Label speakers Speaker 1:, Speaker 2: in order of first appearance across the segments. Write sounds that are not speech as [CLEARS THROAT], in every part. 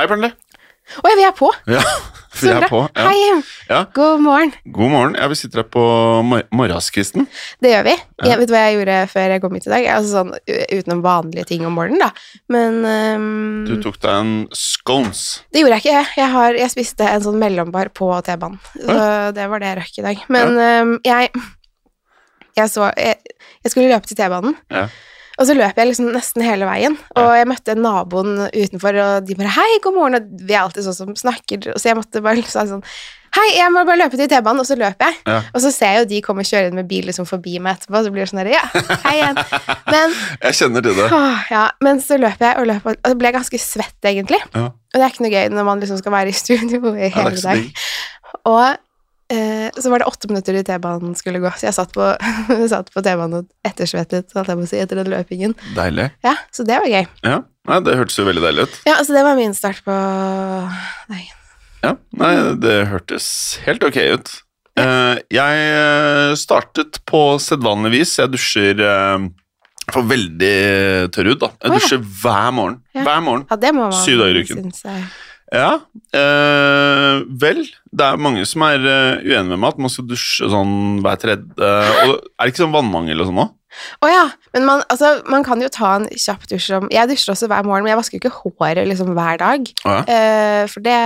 Speaker 1: Hei, Pernille.
Speaker 2: Å ja, vi er på!
Speaker 1: Ja, vi
Speaker 2: Så
Speaker 1: er
Speaker 2: bra.
Speaker 1: på. Ja.
Speaker 2: Hei!
Speaker 1: Ja.
Speaker 2: God morgen.
Speaker 1: God morgen. Ja, vi sitter her på mor morgenskvisten.
Speaker 2: Det gjør vi.
Speaker 1: Ja.
Speaker 2: Jeg vet du hva jeg gjorde før jeg kom hit i dag? Altså sånn u- utenom vanlige ting om morgenen, da. Men ehm,
Speaker 1: Du tok deg en scones.
Speaker 2: det gjorde jeg ikke. jeg. Jeg, har, jeg spiste en sånn mellombar på T-banen. Så det var det jeg rakk i dag. Men ehm, jeg jeg, så, jeg jeg skulle løpe til T-banen,
Speaker 1: Ja.
Speaker 2: og så løp jeg liksom nesten hele veien. Og jeg møtte naboen utenfor, og de bare 'Hei, god morgen', og vi er alltid sånn som snakker, så jeg måtte bare [LAUGHS] sa sånn 'Hei, jeg må bare løpe til T-banen', og så løper jeg.
Speaker 1: Ja.
Speaker 2: Og så ser jeg jo de kommer kjørende med bil liksom forbi meg etterpå, så blir det sånn der, ja, hei igjen.
Speaker 1: [LAUGHS]
Speaker 2: Men,
Speaker 1: Jeg kjenner
Speaker 2: [LAUGHS]
Speaker 1: til det.
Speaker 2: åh, ja, men så løper jeg og løper, og så ble jeg ganske svett, egentlig.
Speaker 1: Ja.
Speaker 2: Og det er ikke noe gøy når man liksom skal være i
Speaker 1: Ja,
Speaker 2: studio [LAUGHS] i
Speaker 1: det er
Speaker 2: hele
Speaker 1: ikke så
Speaker 2: dag.
Speaker 1: digg.
Speaker 2: Og eh, så var det åtte minutter til T-banen skulle gå, så jeg satt på, [LAUGHS] satt på T-banen og ettersvettet, holdt jeg på å si, etter den løpingen.
Speaker 1: Deilig.
Speaker 2: Ja, så det var gøy.
Speaker 1: Ja. Nei, det hørtes jo veldig deilig ut.
Speaker 2: Ja, så det var min start på dagen.
Speaker 1: Ja. Nei, det hørtes helt ok ut. Eh, jeg eh, startet på sedvanlig vis. Jeg dusjer eh, for veldig tørr hud, da.
Speaker 2: Å,
Speaker 1: Jeg
Speaker 2: ja.
Speaker 1: dusjer hver morgen.
Speaker 2: Ja.
Speaker 1: Hver morgen.
Speaker 2: Ja, det må man
Speaker 1: Syv dager i uken.
Speaker 2: synes jeg.
Speaker 1: Ja, eh, vel, det er mange som er eh, uenige med meg at man skal dusje sånn hver tredje Og er det ikke sånn vannmangel og sånn nå?
Speaker 2: Å ja, men man, altså, man kan jo ta en kjapp dusj som Jeg dusjer også hver morgen, men jeg vasker jo ikke håret liksom hver dag.
Speaker 1: Å, ja.
Speaker 2: Eh, for det,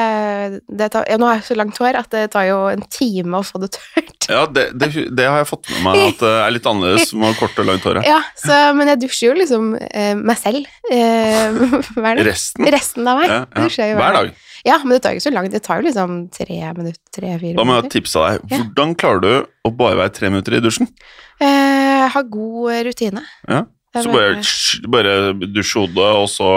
Speaker 2: det tar, ja, Nå har jeg så langt hår at det tar jo en time å få det tørt.
Speaker 1: Ja, det, det, det har jeg fått med meg at det er litt annerledes med kort og langt hår. [LAUGHS] ja.
Speaker 2: Ja, så, Men jeg dusjer jo liksom eh, meg selv eh, [LAUGHS] hver dag.
Speaker 1: Resten
Speaker 2: Resten av meg
Speaker 1: ja, ja.
Speaker 2: dusjer jeg jo
Speaker 1: hver dag.
Speaker 2: Ja, men det tar jo ikke så langt. Det tar jo liksom tre minutter, tre-fire
Speaker 1: Da må jeg ha
Speaker 2: minutter.
Speaker 1: tips av deg.
Speaker 2: Ja.
Speaker 1: Hvordan klarer du å bare være tre minutter i dusjen?
Speaker 2: Eh, ha god rutine.
Speaker 1: Ja,
Speaker 2: Det er
Speaker 1: Så
Speaker 2: bare-
Speaker 1: bare, bare dusje hodet, og så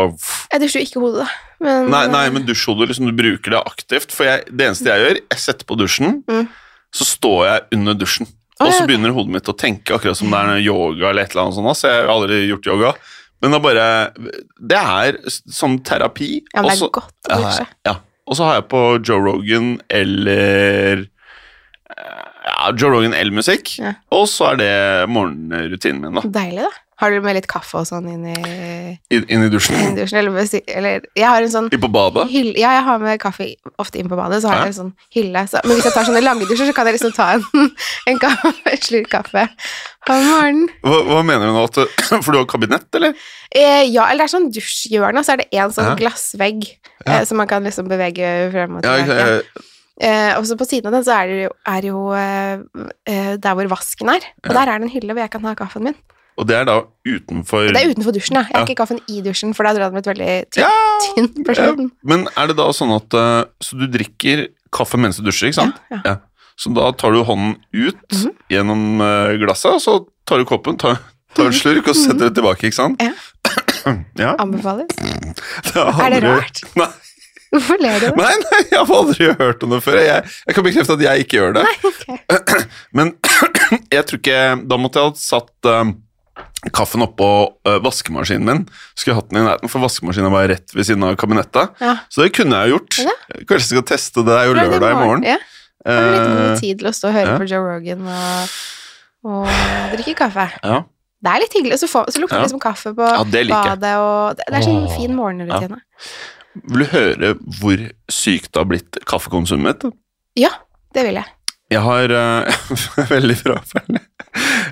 Speaker 2: Jeg dusjer jo ikke hodet, da. Men, eh,
Speaker 1: Nei, nei men dusjhodet liksom, du bruker det aktivt. For jeg, det eneste jeg gjør, jeg setter på dusjen,
Speaker 2: Mm.
Speaker 1: så står jeg under dusjen.
Speaker 2: Å,
Speaker 1: og så
Speaker 2: ja, ok.
Speaker 1: begynner hodet mitt å tenke akkurat som det er noe yoga eller et eller annet sånt. Så jeg har aldri gjort yoga. Men det er bare Det er s- som terapi.
Speaker 2: Ja, men det
Speaker 1: og så-
Speaker 2: er godt å dusje.
Speaker 1: ja. Og så har jeg på Joe Rogan eller ja, Joe Rogan eller musikk.
Speaker 2: Ja.
Speaker 1: Og så er det morgenrutinen min, da.
Speaker 2: Deilig, da. Har du med litt kaffe og sånn inn i
Speaker 1: Inn inn i [LAUGHS] dusjen.
Speaker 2: Indusjen, eller, hvis- eller jeg har en sånn
Speaker 1: Inn på badet.
Speaker 2: hylle Ja, jeg har med kaffe ofte inn på badet, så
Speaker 1: Ja.
Speaker 2: har jeg en sånn hylle. Så, men hvis jeg tar sånne lange dusjer, så kan jeg liksom ta en, [LAUGHS] en, kaffe, en slurk kaffe om morgenen.
Speaker 1: Hva, hva mener du nå? At, [CLEARS THROAT] du- for du har kabinett, eller?
Speaker 2: Eh, ja, eller det er sånn dusjhjørne, og så er det en sånn
Speaker 1: Ja.
Speaker 2: glassvegg
Speaker 1: Ja.
Speaker 2: eh, som man kan liksom bevege frem og
Speaker 1: Ja, ikke
Speaker 2: tilbake.
Speaker 1: sant? jeg,
Speaker 2: Eh, og så på siden av den så er det jo, er jo eh, eh, der hvor vasken er. Og der er det en hylle hvor jeg kan ha kaffen min.
Speaker 1: Og det er da utenfor
Speaker 2: Det er utenfor dusjen, ja. Jeg
Speaker 1: Ja.
Speaker 2: har ikke kaffen i dusjen, for da hadde den blitt veldig tynn,
Speaker 1: Ja!
Speaker 2: tynn på
Speaker 1: Ja,
Speaker 2: slutten.
Speaker 1: Men er det da sånn at eh, Så du drikker kaffe mens du dusjer, ikke sant?
Speaker 2: Ja, Mhm. ja.
Speaker 1: Så da tar du hånden ut gjennom eh, glasset, og så tar du koppen, tar, tar en slurk og setter det tilbake, ikke sant?
Speaker 2: Mhm.
Speaker 1: [CLEARS THROAT]
Speaker 2: Ja.
Speaker 1: Ja,
Speaker 2: Anbefales.
Speaker 1: det har
Speaker 2: Er det
Speaker 1: aldri-
Speaker 2: rart?
Speaker 1: Nei,
Speaker 2: Hvorfor ler du?
Speaker 1: nei, nei, jeg har aldri hørt om det før. Jeg, jeg kan bekrefte at jeg ikke gjør det.
Speaker 2: Ok.
Speaker 1: [CLEARS THROAT] Men jeg tror ikke Da måtte jeg ha satt eh, kaffen oppå eh, vaskemaskinen min. Skulle hatt den i nærheten, for vaskemaskinen var rett ved siden av kabinettet.
Speaker 2: Ja.
Speaker 1: Så det kunne jeg jo gjort.
Speaker 2: Ja,
Speaker 1: Kanskje jeg skal teste det. Det er jo
Speaker 2: Prøv det
Speaker 1: lørdag i morgen.
Speaker 2: Ja. Har du litt
Speaker 1: Eh,
Speaker 2: god tid til å stå og høre
Speaker 1: ja.
Speaker 2: på Joe Rogan og, og drikke kaffe?
Speaker 1: ja.
Speaker 2: Det er litt hyggelig. Og så, får, så lukter
Speaker 1: Ja.
Speaker 2: det liksom kaffe på
Speaker 1: Ja, det liker jeg.
Speaker 2: badet, og det, det er sånn
Speaker 1: Åh.
Speaker 2: fin morgenrutine.
Speaker 1: Vil du høre hvor sykt det har blitt kaffekonsumet mitt?
Speaker 2: Ja. det vil jeg.
Speaker 1: Jeg har eh, [LAUGHS] Veldig frafallende.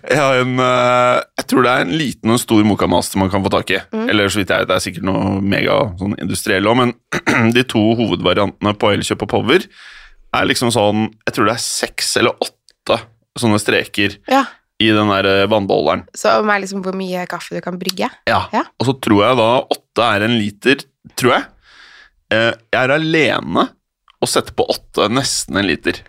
Speaker 1: Jeg har en eh, Jeg tror det er en liten og en stor mokamaster man kan få tak i.
Speaker 2: Mm.
Speaker 1: Eller så vidt jeg vet, det er sikkert noe mega sånn industriell òg, men [CLEARS THROAT] de to hovedvariantene på Elkjøp og Power er liksom sånn Jeg tror det er seks eller åtte sånne streker
Speaker 2: Ja.
Speaker 1: i den der eh, vannbeholderen.
Speaker 2: Som er liksom hvor mye kaffe du kan brygge.
Speaker 1: Ja.
Speaker 2: Ja.
Speaker 1: Og så tror jeg da åtte er en liter, tror jeg. Eh, jeg er alene og setter på åtte, nesten en liter.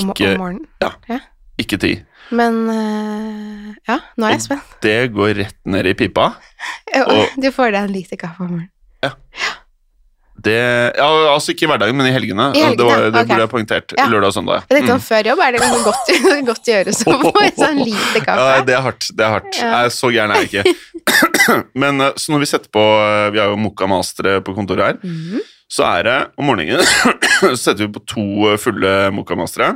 Speaker 2: Om,
Speaker 1: Ikke,
Speaker 2: om morgenen.
Speaker 1: ikke ti.
Speaker 2: Men øh, ja, nå er jeg spent.
Speaker 1: Det går rett ned i pipa. og-
Speaker 2: [LAUGHS] du får deg en liter kaffe om morgenen.
Speaker 1: Det, ja, altså ikke i hverdagen, men i helgene.
Speaker 2: I helgene,
Speaker 1: det var, det
Speaker 2: ok.
Speaker 1: burde jeg poengtert.
Speaker 2: Ja.
Speaker 1: Lørdag og søndag. Mm.
Speaker 2: Jeg tenkte sånn, Før jobb er det liksom godt, godt å gjøre så får jeg [LAUGHS] sånn liter kaffe.
Speaker 1: Ja, det er hardt. det er hardt.
Speaker 2: Ja.
Speaker 1: Nei, så gæren er jeg ikke.
Speaker 2: [LAUGHS]
Speaker 1: Men eh, så når vi setter på eh, Vi har jo Mokka Mastere på kontoret her.
Speaker 2: Mhm.
Speaker 1: Så er det om morgenen [COUGHS] Så setter vi på to eh, fulle Mokka Mastere.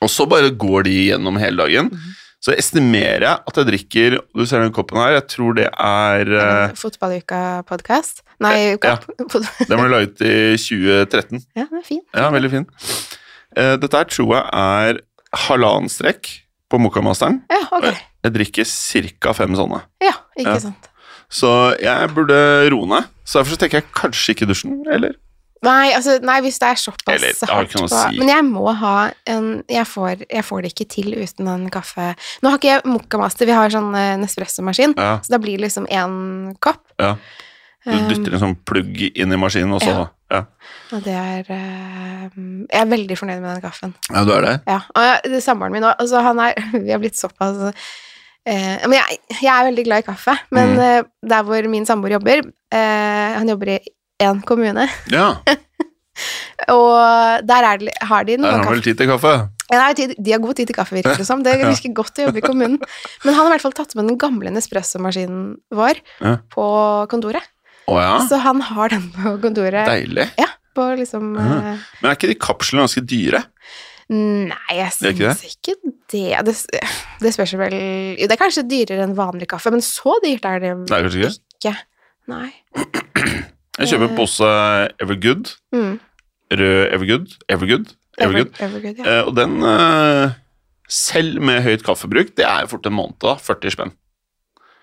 Speaker 1: Og så bare går de gjennom hele dagen. Så estimerer jeg at jeg drikker Du ser den koppen her. Jeg tror det er eh,
Speaker 2: Fotballuka-podkast. Nei,
Speaker 1: ja.
Speaker 2: uka. pod-
Speaker 1: Den ble laget i 2013.
Speaker 2: [LAUGHS] Ja, den er fin.
Speaker 1: Ja, veldig fin. Eh, Dette her tror jeg er halvannen strekk på Mokkamasteren.
Speaker 2: Ja, ok.
Speaker 1: Jeg drikker ca. fem sånne.
Speaker 2: Ja, ikke
Speaker 1: Ja.
Speaker 2: sant.
Speaker 1: Så jeg burde roe ned. Så derfor så tenker jeg kanskje ikke dusjen, eller?
Speaker 2: Nei, altså, nei, hvis det er såpass
Speaker 1: Eller, det har
Speaker 2: hardt
Speaker 1: ikke noe å
Speaker 2: på
Speaker 1: si.
Speaker 2: Men jeg må ha en jeg får, jeg får det ikke til uten en kaffe. Nå har ikke jeg Mokka Master, vi har sånn eh, Nespresso-maskin,
Speaker 1: Ja,
Speaker 2: så da blir det liksom én kopp.
Speaker 1: ja. Du
Speaker 2: Um,
Speaker 1: dytter en sånn plugg inn i maskinen, og så
Speaker 2: ja.
Speaker 1: ja.
Speaker 2: Og det er eh, Jeg er veldig fornøyd med den kaffen.
Speaker 1: ja, du er det?
Speaker 2: Ja, og jeg- det er samboeren min òg. Altså, han er [LAUGHS] Vi har blitt såpass eh, Men jeg, jeg er veldig glad i kaffe. Men
Speaker 1: Mm.
Speaker 2: eh, der hvor min samboer jobber eh, Han jobber i én kommune,
Speaker 1: Ja.
Speaker 2: og der er det, har de
Speaker 1: Der
Speaker 2: noe
Speaker 1: har han
Speaker 2: kaffe.
Speaker 1: vel tid til kaffe.
Speaker 2: Ja, nei, tid- de har god tid til kaffe, virker det som. Det
Speaker 1: [LAUGHS] Ja.
Speaker 2: virker godt å jobbe i kommunen. Men han har i hvert fall tatt med den gamle Nespresso-maskinen vår
Speaker 1: Ja. Ah.
Speaker 2: på kontoret.
Speaker 1: Å ja.
Speaker 2: Så han har den på kontoret
Speaker 1: Deilig.
Speaker 2: på liksom
Speaker 1: Ja.
Speaker 2: eh,
Speaker 1: Men er ikke de kapslene ganske dyre?
Speaker 2: Nei, jeg
Speaker 1: Det er ikke
Speaker 2: syns ikke det. Det, det spørs vel Jo, det er kanskje dyrere enn vanlig kaffe, men så dyrt er det
Speaker 1: Nei, kanskje ikke.
Speaker 2: ikke. Nei.
Speaker 1: Jeg kjøper
Speaker 2: Eh.
Speaker 1: en pose Evergood.
Speaker 2: Mm.
Speaker 1: Rød Evergood. Evergood. Evergood.
Speaker 2: Ever- Evergood, ja.
Speaker 1: Eh, og den, eh, selv med høyt kaffebruk, det er jo fort en måned, da. 40 spenn.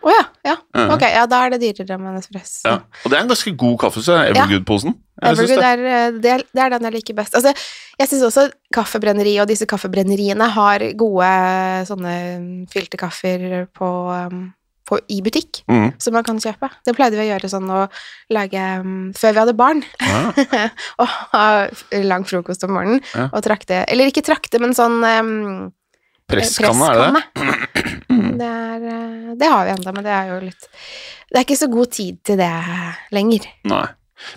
Speaker 2: Å ja, ja.
Speaker 1: Eh,
Speaker 2: Ok, ja, da er det dyrere med Nespresso.
Speaker 1: ja. Og det er en ganske god kaffe, så er Evergood-posen. Jeg synes
Speaker 2: Evergood
Speaker 1: det.
Speaker 2: er, eh, det, er- det er den jeg liker best. Altså, jeg syns også kaffebrenneri og disse kaffebrenneriene har gode eh, sånne mm, fylte kaffer på, um, på, i butikk
Speaker 1: Mm.
Speaker 2: [LAUGHS] som man kan kjøpe. Det pleide vi å gjøre sånn å lage um, før vi hadde barn, [LAUGHS]
Speaker 1: Ja.
Speaker 2: og ha f- lang frokost om morgenen
Speaker 1: Ja.
Speaker 2: og trakte Eller ikke trakte, men sånn um,
Speaker 1: Presskanne, er det det? Mm.
Speaker 2: Det, er, eh, det har vi ennå, men det er jo litt Det er ikke så god tid til det lenger.
Speaker 1: Nei.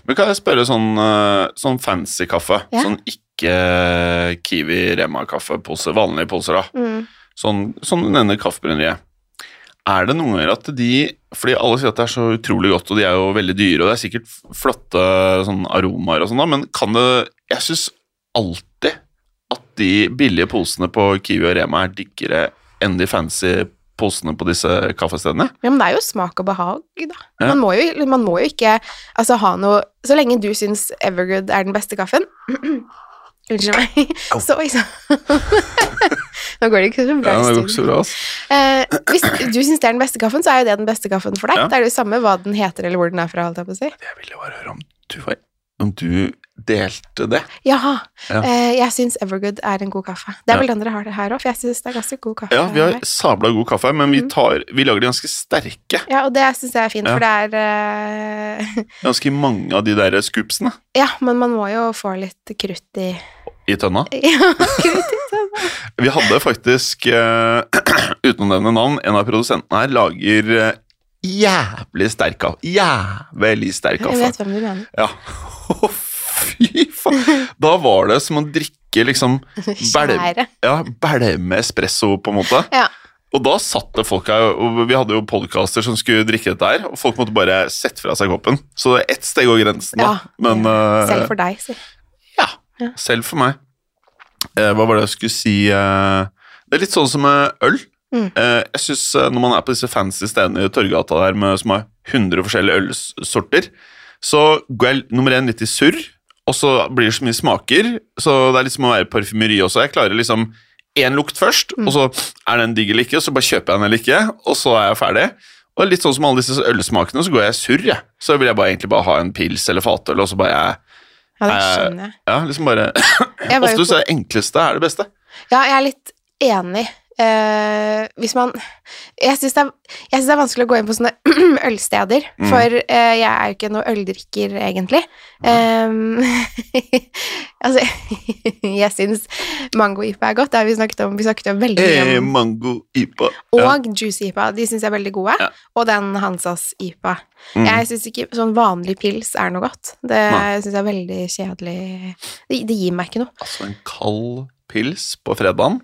Speaker 1: Men kan jeg spørre sånn, eh, sånn fancy kaffe?
Speaker 2: Ja.
Speaker 1: Sånn ikke eh, Kiwi Rema-kaffepose, vanlige poser, da.
Speaker 2: Mm.
Speaker 1: Sånn, sånn du nevner kaffebrenneriet. Er det noen ganger at de Fordi alle sier at det er så utrolig godt, og de er jo veldig dyre, og det er sikkert flotte sånn aromaer og sånn, da, men kan det Jeg syns alltid at de billige posene på Kiwi og Rema er diggere enn de fancy posene på disse kaffestedene.
Speaker 2: Ja, men det er jo smak og behag, da.
Speaker 1: Ja.
Speaker 2: Man, må jo, man må jo ikke altså, ha noe Så lenge du syns Evergood er den beste kaffen [CLEARS THROAT] Unnskyld meg.
Speaker 1: Au.
Speaker 2: [LAUGHS] Så, ikke sant? Nå går det ikke så bra i studio.
Speaker 1: bra, ass.
Speaker 2: Eh, hvis du syns det er den beste kaffen, så er jo det den beste kaffen for deg.
Speaker 1: Ja.
Speaker 2: Det er det jo samme hva den heter, eller hvor den er fra. holdt jeg på å si.
Speaker 1: Jeg ville bare høre om du, var, om du delte det.
Speaker 2: Jaha.
Speaker 1: Ja.
Speaker 2: Eh, jeg syns Evergood er en god kaffe. Det er
Speaker 1: Ja.
Speaker 2: vel den dere har det her òg, for jeg syns det er ganske god kaffe.
Speaker 1: Ja, vi har
Speaker 2: her.
Speaker 1: sabla god kaffe, men vi, tar, vi lager de ganske sterke.
Speaker 2: ja og det syns jeg er fint,
Speaker 1: Ja.
Speaker 2: for det er eh, [LAUGHS]
Speaker 1: Ganske mange av de der scoopsene
Speaker 2: Ja, men man må jo få litt krutt i [LAUGHS]
Speaker 1: i tønna.
Speaker 2: Ja, krutt i tønna.
Speaker 1: Vi hadde faktisk, eh, [CLEARS THROAT] uten å nevne navn, en av produsentene her lager eh, jævlig sterk kaffe. Jævlig sterk
Speaker 2: Jeg
Speaker 1: kaffe.
Speaker 2: vet hvem du mener.
Speaker 1: Ja. [LAUGHS] Å, fy faen! Da var det som å drikke
Speaker 2: [LAUGHS]
Speaker 1: liksom
Speaker 2: Skjære.
Speaker 1: ja, bælme espresso, på en måte.
Speaker 2: Ja.
Speaker 1: Og da satt det folk her, og vi hadde jo podcaster som skulle drikke dette her, og folk måtte bare sette fra seg koppen. Så det er ett steg over grensen, da.
Speaker 2: Ja.
Speaker 1: Men eh,
Speaker 2: Selv for deg, si.
Speaker 1: ja,
Speaker 2: Ja.
Speaker 1: selv for meg. Eh, hva var det jeg skulle si eh, Det er litt sånn som med øl.
Speaker 2: Mm.
Speaker 1: Eh, jeg synes eh, Når man er på disse fancy stedene i Torgata der med, som har 100 forskjellige ølsorter, så går jeg nummer én litt i surr, og så blir det så mye smaker. Så det er litt som å være i parfymeri også. Jeg klarer liksom én lukt først,
Speaker 2: Mm.
Speaker 1: og så er den digg eller ikke, så bare kjøper jeg den eller ikke, og så er jeg ferdig. Og litt sånn som alle disse ølsmakene, så går jeg i surr, jeg. Så vil jeg bare egentlig bare ha en pils eller fatøl, og så bare
Speaker 2: Ja, det
Speaker 1: Eh,
Speaker 2: skjønner jeg.
Speaker 1: Ja, liksom bare
Speaker 2: Jeg, var
Speaker 1: Ofte
Speaker 2: jo
Speaker 1: så er det enkleste er det beste.
Speaker 2: på- ja, jeg er litt enig. Eh, hvis man Jeg syns det, er- jeg synes det er vanskelig å gå inn på sånne [CLEARS THROAT] ølsteder,
Speaker 1: Mm.
Speaker 2: for eh, jeg er jo ikke noe øldrikker, egentlig. Eh, [LAUGHS] altså, [LAUGHS] jeg syns mango-ipa er godt, det har vi snakket om. Vi snakket jo veldig mye
Speaker 1: Eh,
Speaker 2: om
Speaker 1: mango, ipa
Speaker 2: Og
Speaker 1: ja.
Speaker 2: juice-ipa, de syns jeg er veldig gode.
Speaker 1: Ja.
Speaker 2: Og den Hansas-ipa.
Speaker 1: Mm.
Speaker 2: Jeg syns ikke sånn vanlig pils er noe godt. Det
Speaker 1: Nei.
Speaker 2: syns jeg er veldig kjedelig. Det, det gir meg ikke noe.
Speaker 1: Altså en kald pils på fredagen.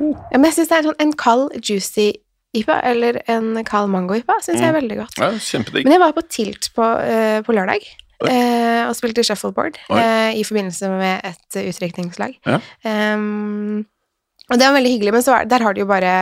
Speaker 2: Ja, men jeg syns det er sånn en kald juicy-ipa eller en kald mango-ipa syns
Speaker 1: Mm.
Speaker 2: jeg er veldig godt.
Speaker 1: Ja, Kjempedigg.
Speaker 2: Men jeg var på Tilt på, eh, på lørdag.
Speaker 1: Oi.
Speaker 2: eh, og spilte shuffleboard
Speaker 1: Oi.
Speaker 2: eh, i forbindelse med et utdrikningslag.
Speaker 1: Ja.
Speaker 2: Um, og det var veldig hyggelig, men så var, der har de jo bare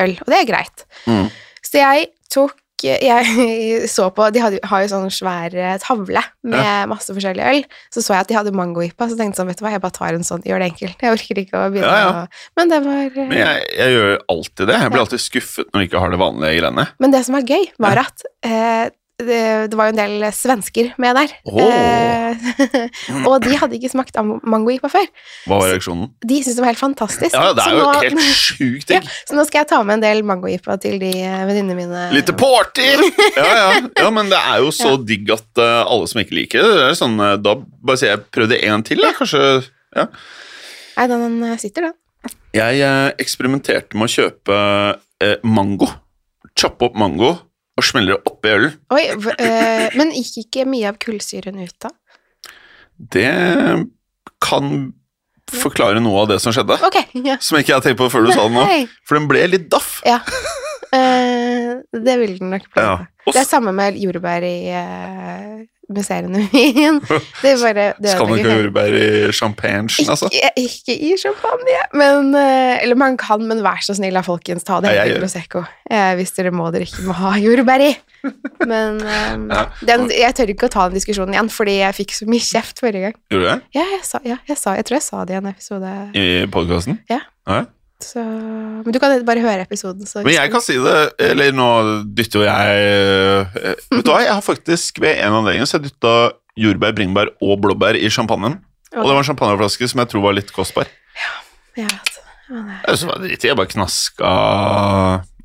Speaker 2: øl, og det er greit.
Speaker 1: Mm.
Speaker 2: Så jeg tok jeg [LAUGHS] så på, De hadde, har jo sånn svær eh, tavle med masse forskjellig øl. Så så jeg at de hadde mangojipa, så tenkte jeg sånn, vet du hva, jeg bare tar en sånn, gjør det enkelt. Jeg orker ikke å begynne
Speaker 1: Ja, ja.
Speaker 2: å Men det var eh,
Speaker 1: Men jeg, jeg gjør alltid det. Jeg blir alltid skuffet når jeg ikke har det vanlige greiene.
Speaker 2: Men det som var gøy, var
Speaker 1: Ja.
Speaker 2: at eh, det, det var jo en del svensker med der.
Speaker 1: Åh.
Speaker 2: Eh, [LAUGHS] og de hadde ikke smakt am- mangojipa før.
Speaker 1: Hva var reaksjonen?
Speaker 2: De syntes det var helt fantastisk.
Speaker 1: Ja, det
Speaker 2: Så
Speaker 1: er jo
Speaker 2: nå-
Speaker 1: helt
Speaker 2: [LAUGHS]
Speaker 1: sjukt digg.
Speaker 2: Så nå skal jeg ta med en del mangojipa til de eh, venninnene mine.
Speaker 1: Lite party! Ja, ja. ja, men det er jo så digg at eh, alle som ikke liker det, det er sånn eh, Da bare sier jeg prøv det en til, da. Kanskje ja.
Speaker 2: Nei, den den eh, sitter, den.
Speaker 1: Jeg eh, eksperimenterte med å kjøpe eh, mango. Choppe opp mango og smelle det oppi ølen.
Speaker 2: Oi, v- eh, men gikk ikke mye av kullsyren ut da?
Speaker 1: Det kan forklare noe av det som skjedde.
Speaker 2: Ok, [LAUGHS] ja.
Speaker 1: Som ikke jeg tenkte på før du sa det nå.
Speaker 2: Hei.
Speaker 1: For den ble litt daff.
Speaker 2: Ja. Eh, det vil den nok bli.
Speaker 1: Ja. Og
Speaker 2: Det er samme med jordbær i eh, musserene
Speaker 1: [LAUGHS]
Speaker 2: mine. Det er bare det
Speaker 1: Skal man ikke ha jordbær i champagnen, altså?
Speaker 2: Ikke, ikke i champagne, men eh, Eller man kan, men vær så snill, da, folkens, ta det
Speaker 1: Ja, jeg
Speaker 2: hele
Speaker 1: gjør det.
Speaker 2: Prosecco. Eh, hvis dere må dere ikke må ha jordbær i.
Speaker 1: [LAUGHS]
Speaker 2: Men eh,
Speaker 1: Ja.
Speaker 2: den, jeg tør ikke å ta den diskusjonen igjen, fordi jeg fikk så mye kjeft forrige gang.
Speaker 1: Gjorde du det?
Speaker 2: Ja, jeg, sa, ja, jeg, sa, jeg tror jeg sa det i en episode.
Speaker 1: I podkasten?
Speaker 2: Ja. Så, men du kan bare høre episoden. Så
Speaker 1: Men jeg kan si det, eller nå dytter jo jeg eh,
Speaker 2: Mm.
Speaker 1: Vet du hva, jeg har faktisk ved en anledning så jeg dytta jordbær, bringebær og blåbær i champagnen. Og det var en champagneflaske som jeg tror var litt kostbar.
Speaker 2: Jeg vet. Ja, det er
Speaker 1: Jeg synes det var dritt, jeg bare knaska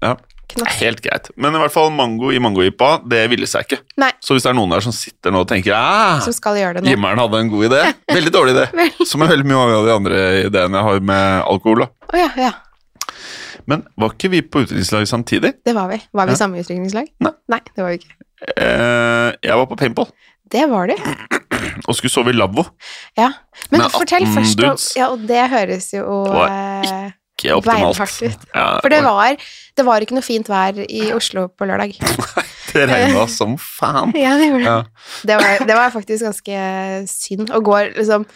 Speaker 1: Ja,
Speaker 2: knask.
Speaker 1: helt greit. Men i hvert fall mango i mangojipa, det ville seg ikke.
Speaker 2: Nei.
Speaker 1: Så hvis det er noen der som sitter nå og tenker ah,
Speaker 2: Som skal gjøre [LAUGHS] det nå.
Speaker 1: Himmelen hadde en god idé. Veldig dårlig
Speaker 2: [LAUGHS]
Speaker 1: idé. Som er veldig mye av de andre ideene jeg har med alkohol. da.
Speaker 2: Å ja, ja.
Speaker 1: Men var ikke vi på utdrikningslag samtidig?
Speaker 2: Det var vi. Var vi
Speaker 1: Ja.
Speaker 2: i samme utrykningslag?
Speaker 1: Nei.
Speaker 2: det var vi ikke.
Speaker 1: Eh, jeg var på paintball
Speaker 2: Det var du.
Speaker 1: og skulle sove i lavvo.
Speaker 2: Ja. Men
Speaker 1: Med
Speaker 2: fortell
Speaker 1: 18
Speaker 2: først om
Speaker 1: dudes.
Speaker 2: Ja, og det høres jo
Speaker 1: Det var
Speaker 2: eh,
Speaker 1: Ikke optimalt.
Speaker 2: Beinhardt ut.
Speaker 1: Ja,
Speaker 2: For det var, det var ikke noe fint vær i Oslo på lørdag.
Speaker 1: [LAUGHS] det regna som faen.
Speaker 2: [LAUGHS] Ja, det gjorde
Speaker 1: [LAUGHS]
Speaker 2: det.
Speaker 1: Ja.
Speaker 2: Det var, det var faktisk ganske synd å gå liksom [CLEARS THROAT]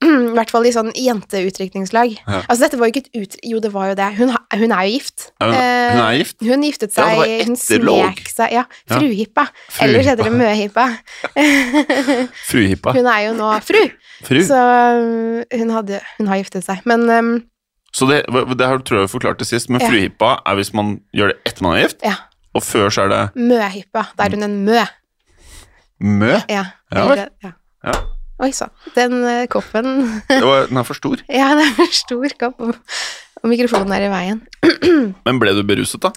Speaker 2: I hvert fall i sånn jenteutrykningslag.
Speaker 1: Ja.
Speaker 2: Altså, dette var jo ikke et ut... Jo, det var jo det. Hun, ha- hun er jo gift.
Speaker 1: Ja, Hun, hun er gift.
Speaker 2: Eh, hun giftet
Speaker 1: Ja,
Speaker 2: seg,
Speaker 1: det var
Speaker 2: hun
Speaker 1: etter låg.
Speaker 2: snek seg Ja,
Speaker 1: Ja.
Speaker 2: fruhippa.
Speaker 1: Fruhippa.
Speaker 2: Ellers heter det møhippa.
Speaker 1: Fruhippa.
Speaker 2: hun er jo nå fru,
Speaker 1: Fru. Så,
Speaker 2: så um, hun, hadde, hun har giftet seg. Men um,
Speaker 1: det, det har du tror jeg forklarte sist, men
Speaker 2: Ja.
Speaker 1: fruhippa er hvis man gjør det etter man er gift,
Speaker 2: ja,
Speaker 1: og før så er det
Speaker 2: møhippa. Da er hun en mø.
Speaker 1: mø.
Speaker 2: Ja.
Speaker 1: Ja
Speaker 2: eller
Speaker 1: vel.
Speaker 2: det- ja.
Speaker 1: Ja.
Speaker 2: Oi sann. Den eh, koppen [LAUGHS]
Speaker 1: Det var, den er for stor.
Speaker 2: Ja, det er for stor kopp, og, og mikrofonen er i veien. [CLEARS THROAT]
Speaker 1: Men ble du beruset, da?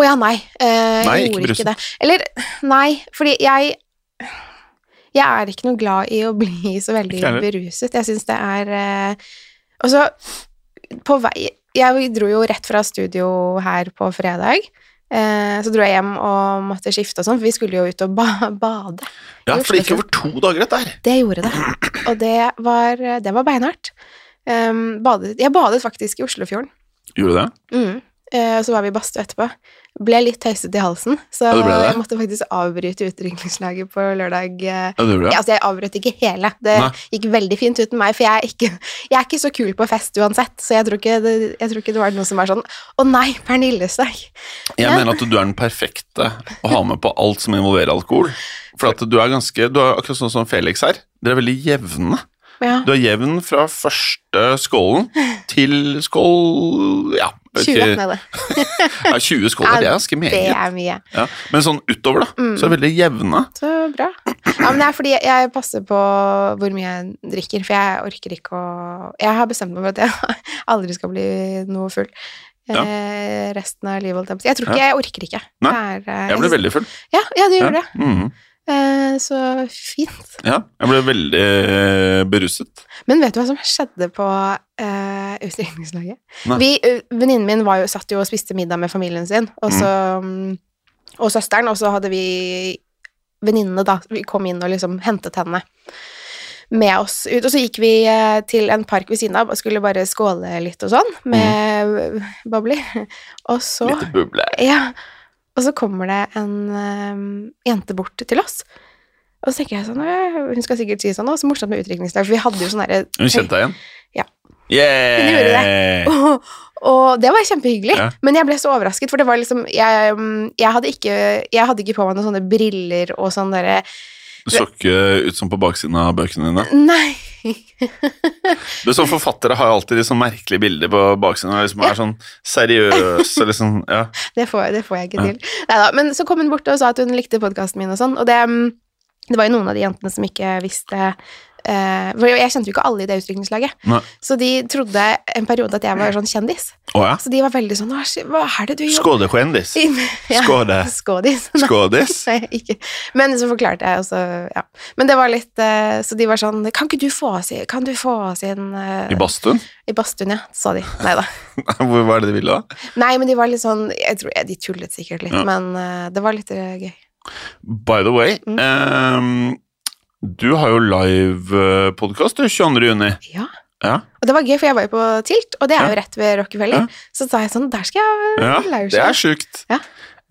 Speaker 2: Å ja, nei. Eh,
Speaker 1: Nei,
Speaker 2: jeg
Speaker 1: ikke
Speaker 2: gjorde
Speaker 1: brusen.
Speaker 2: ikke det. Eller, nei, fordi jeg Jeg er ikke noe glad i å bli så veldig
Speaker 1: Ikke heller.
Speaker 2: beruset. Jeg syns det er eh, Og så, på vei Jeg dro jo rett fra studio her på fredag. Eh, så dro jeg hjem og måtte skifte og sånn, for vi skulle jo ut og ba bade.
Speaker 1: Ja,
Speaker 2: Jo,
Speaker 1: for det gikk over to dager, dette her.
Speaker 2: Det gjorde det. Og det var, det var beinhardt. Eh, badet, jeg badet faktisk i Oslofjorden.
Speaker 1: Gjorde du det?
Speaker 2: Mm. Eh, og så var vi i badstue etterpå. Ble litt tøysete i halsen, så
Speaker 1: Ja, det ble det.
Speaker 2: jeg måtte faktisk avbryte utrykningslaget på lørdag. eh.
Speaker 1: Ja, det gjorde
Speaker 2: Ja,
Speaker 1: det.
Speaker 2: altså, jeg avbrøt ikke hele. Det
Speaker 1: Nei.
Speaker 2: gikk veldig fint uten meg, for jeg er, ikke, jeg er ikke så kul på fest uansett, så jeg tror ikke det, jeg tror ikke det var noen som var sånn Å nei, Pernilles dag!
Speaker 1: Jeg
Speaker 2: Ja.
Speaker 1: mener at du er den perfekte å ha med på alt som involverer alkohol. For at du er ganske Du er akkurat sånn som Felix her. Dere er veldig jevne.
Speaker 2: Ja.
Speaker 1: Du er jevn fra første skålen til skål Ja,
Speaker 2: 20
Speaker 1: ikke,
Speaker 2: nede.
Speaker 1: ja 20 skåler, det er ganske
Speaker 2: Det
Speaker 1: meget.
Speaker 2: er mye.
Speaker 1: Ja. Men sånn utover, da,
Speaker 2: Mm.
Speaker 1: så er det veldig jevne.
Speaker 2: Så bra. Ja, men det er fordi jeg passer på hvor mye jeg drikker, for jeg orker ikke å Jeg har bestemt meg for at jeg [LAUGHS] aldri skal bli noe full.
Speaker 1: Ja.
Speaker 2: Eh, resten av livet, holdt jeg på å si. Jeg tror ikke jeg orker ikke.
Speaker 1: Nei,
Speaker 2: Det er, eh,
Speaker 1: Jeg ble veldig full.
Speaker 2: Ja, ja du
Speaker 1: Ja.
Speaker 2: gjorde det.
Speaker 1: Mhm.
Speaker 2: Eh, så fint.
Speaker 1: ja. Jeg ble veldig eh, beruset.
Speaker 2: Men vet du hva som skjedde på eh, utdrikningslaget?
Speaker 1: Nei.
Speaker 2: Vi- eh, Venninnen min var jo, satt jo og spiste middag med familien sin, og, så, mm, og søsteren, og så hadde vi venninnene, da. Vi kom inn og liksom hentet henne med oss ut. Og så gikk vi eh, til en park ved siden av og skulle bare skåle litt og sånn, med mm. bobler. [LAUGHS] Og så
Speaker 1: Litt buble.
Speaker 2: ja. Og så kommer det en ehm, jente bort til oss. Og så tenker jeg sånn, «Åh, Hun skal sikkert si sånn, «Å, så morsomt med utdrikningslag. For vi hadde jo sånn derre
Speaker 1: Hun kjente deg igjen. Yeah!
Speaker 2: Hun gjorde [LAUGHS] Og, og det var kjempehyggelig.
Speaker 1: Ja.
Speaker 2: Men jeg ble så overrasket, for det var liksom Jeg, mm, jeg, hadde, ikke, jeg hadde ikke på meg noen sånne briller og sånn derre
Speaker 1: Du [LAUGHS] så ikke ut som på baksiden av bøkene dine.
Speaker 2: [LAUGHS] Nei.
Speaker 1: Du, som Forfattere har alltid de sånn merkelige bilder på baksiden. og Liksom,
Speaker 2: Ja.
Speaker 1: Er sånn seriøse, liksom. Ja.
Speaker 2: Det får, det får jeg ikke
Speaker 1: Ja.
Speaker 2: til. Neida, men så kom hun bort og sa at hun likte podkasten min og sånn, og det, mm, det var jo noen av de jentene som ikke visste eh, For jeg kjente jo ikke alle i det utdrikningslaget,
Speaker 1: Nei.
Speaker 2: så de trodde en periode at jeg var sånn kjendis.
Speaker 1: Å ja.
Speaker 2: Så de var veldig sånn Hva er- hva er det du gjør?
Speaker 1: Skådekjendis.
Speaker 2: [LAUGHS] Ja,
Speaker 1: Skåde.
Speaker 2: Skådis. Nei, [LAUGHS]
Speaker 1: Skådis.
Speaker 2: Nei, ikke. Men så forklarte jeg også, ja. Men det var litt eh, Så de var sånn Kan ikke du få oss i Kan du få oss inn eh,
Speaker 1: I badstuen? [LAUGHS]
Speaker 2: i badstuen, ja? Sa de. Nei da.
Speaker 1: Hvor- Hva er det de ville, da?
Speaker 2: Nei, men de var litt sånn Jeg tror De tullet sikkert litt,
Speaker 1: Ja.
Speaker 2: men eh, det var litt eh, gøy.
Speaker 1: By the way
Speaker 2: Mm.
Speaker 1: ehm, Du har jo livepodkast 22. juni.
Speaker 2: Ja.
Speaker 1: Ja.
Speaker 2: Og det var gøy, for jeg var jo på Tilt, og det er
Speaker 1: Ja.
Speaker 2: jo rett ved Rockefeller.
Speaker 1: Ja.
Speaker 2: Så sa jeg sånn Der skal jeg
Speaker 1: Ja,
Speaker 2: Laursjø.
Speaker 1: det er sjukt.
Speaker 2: Ja.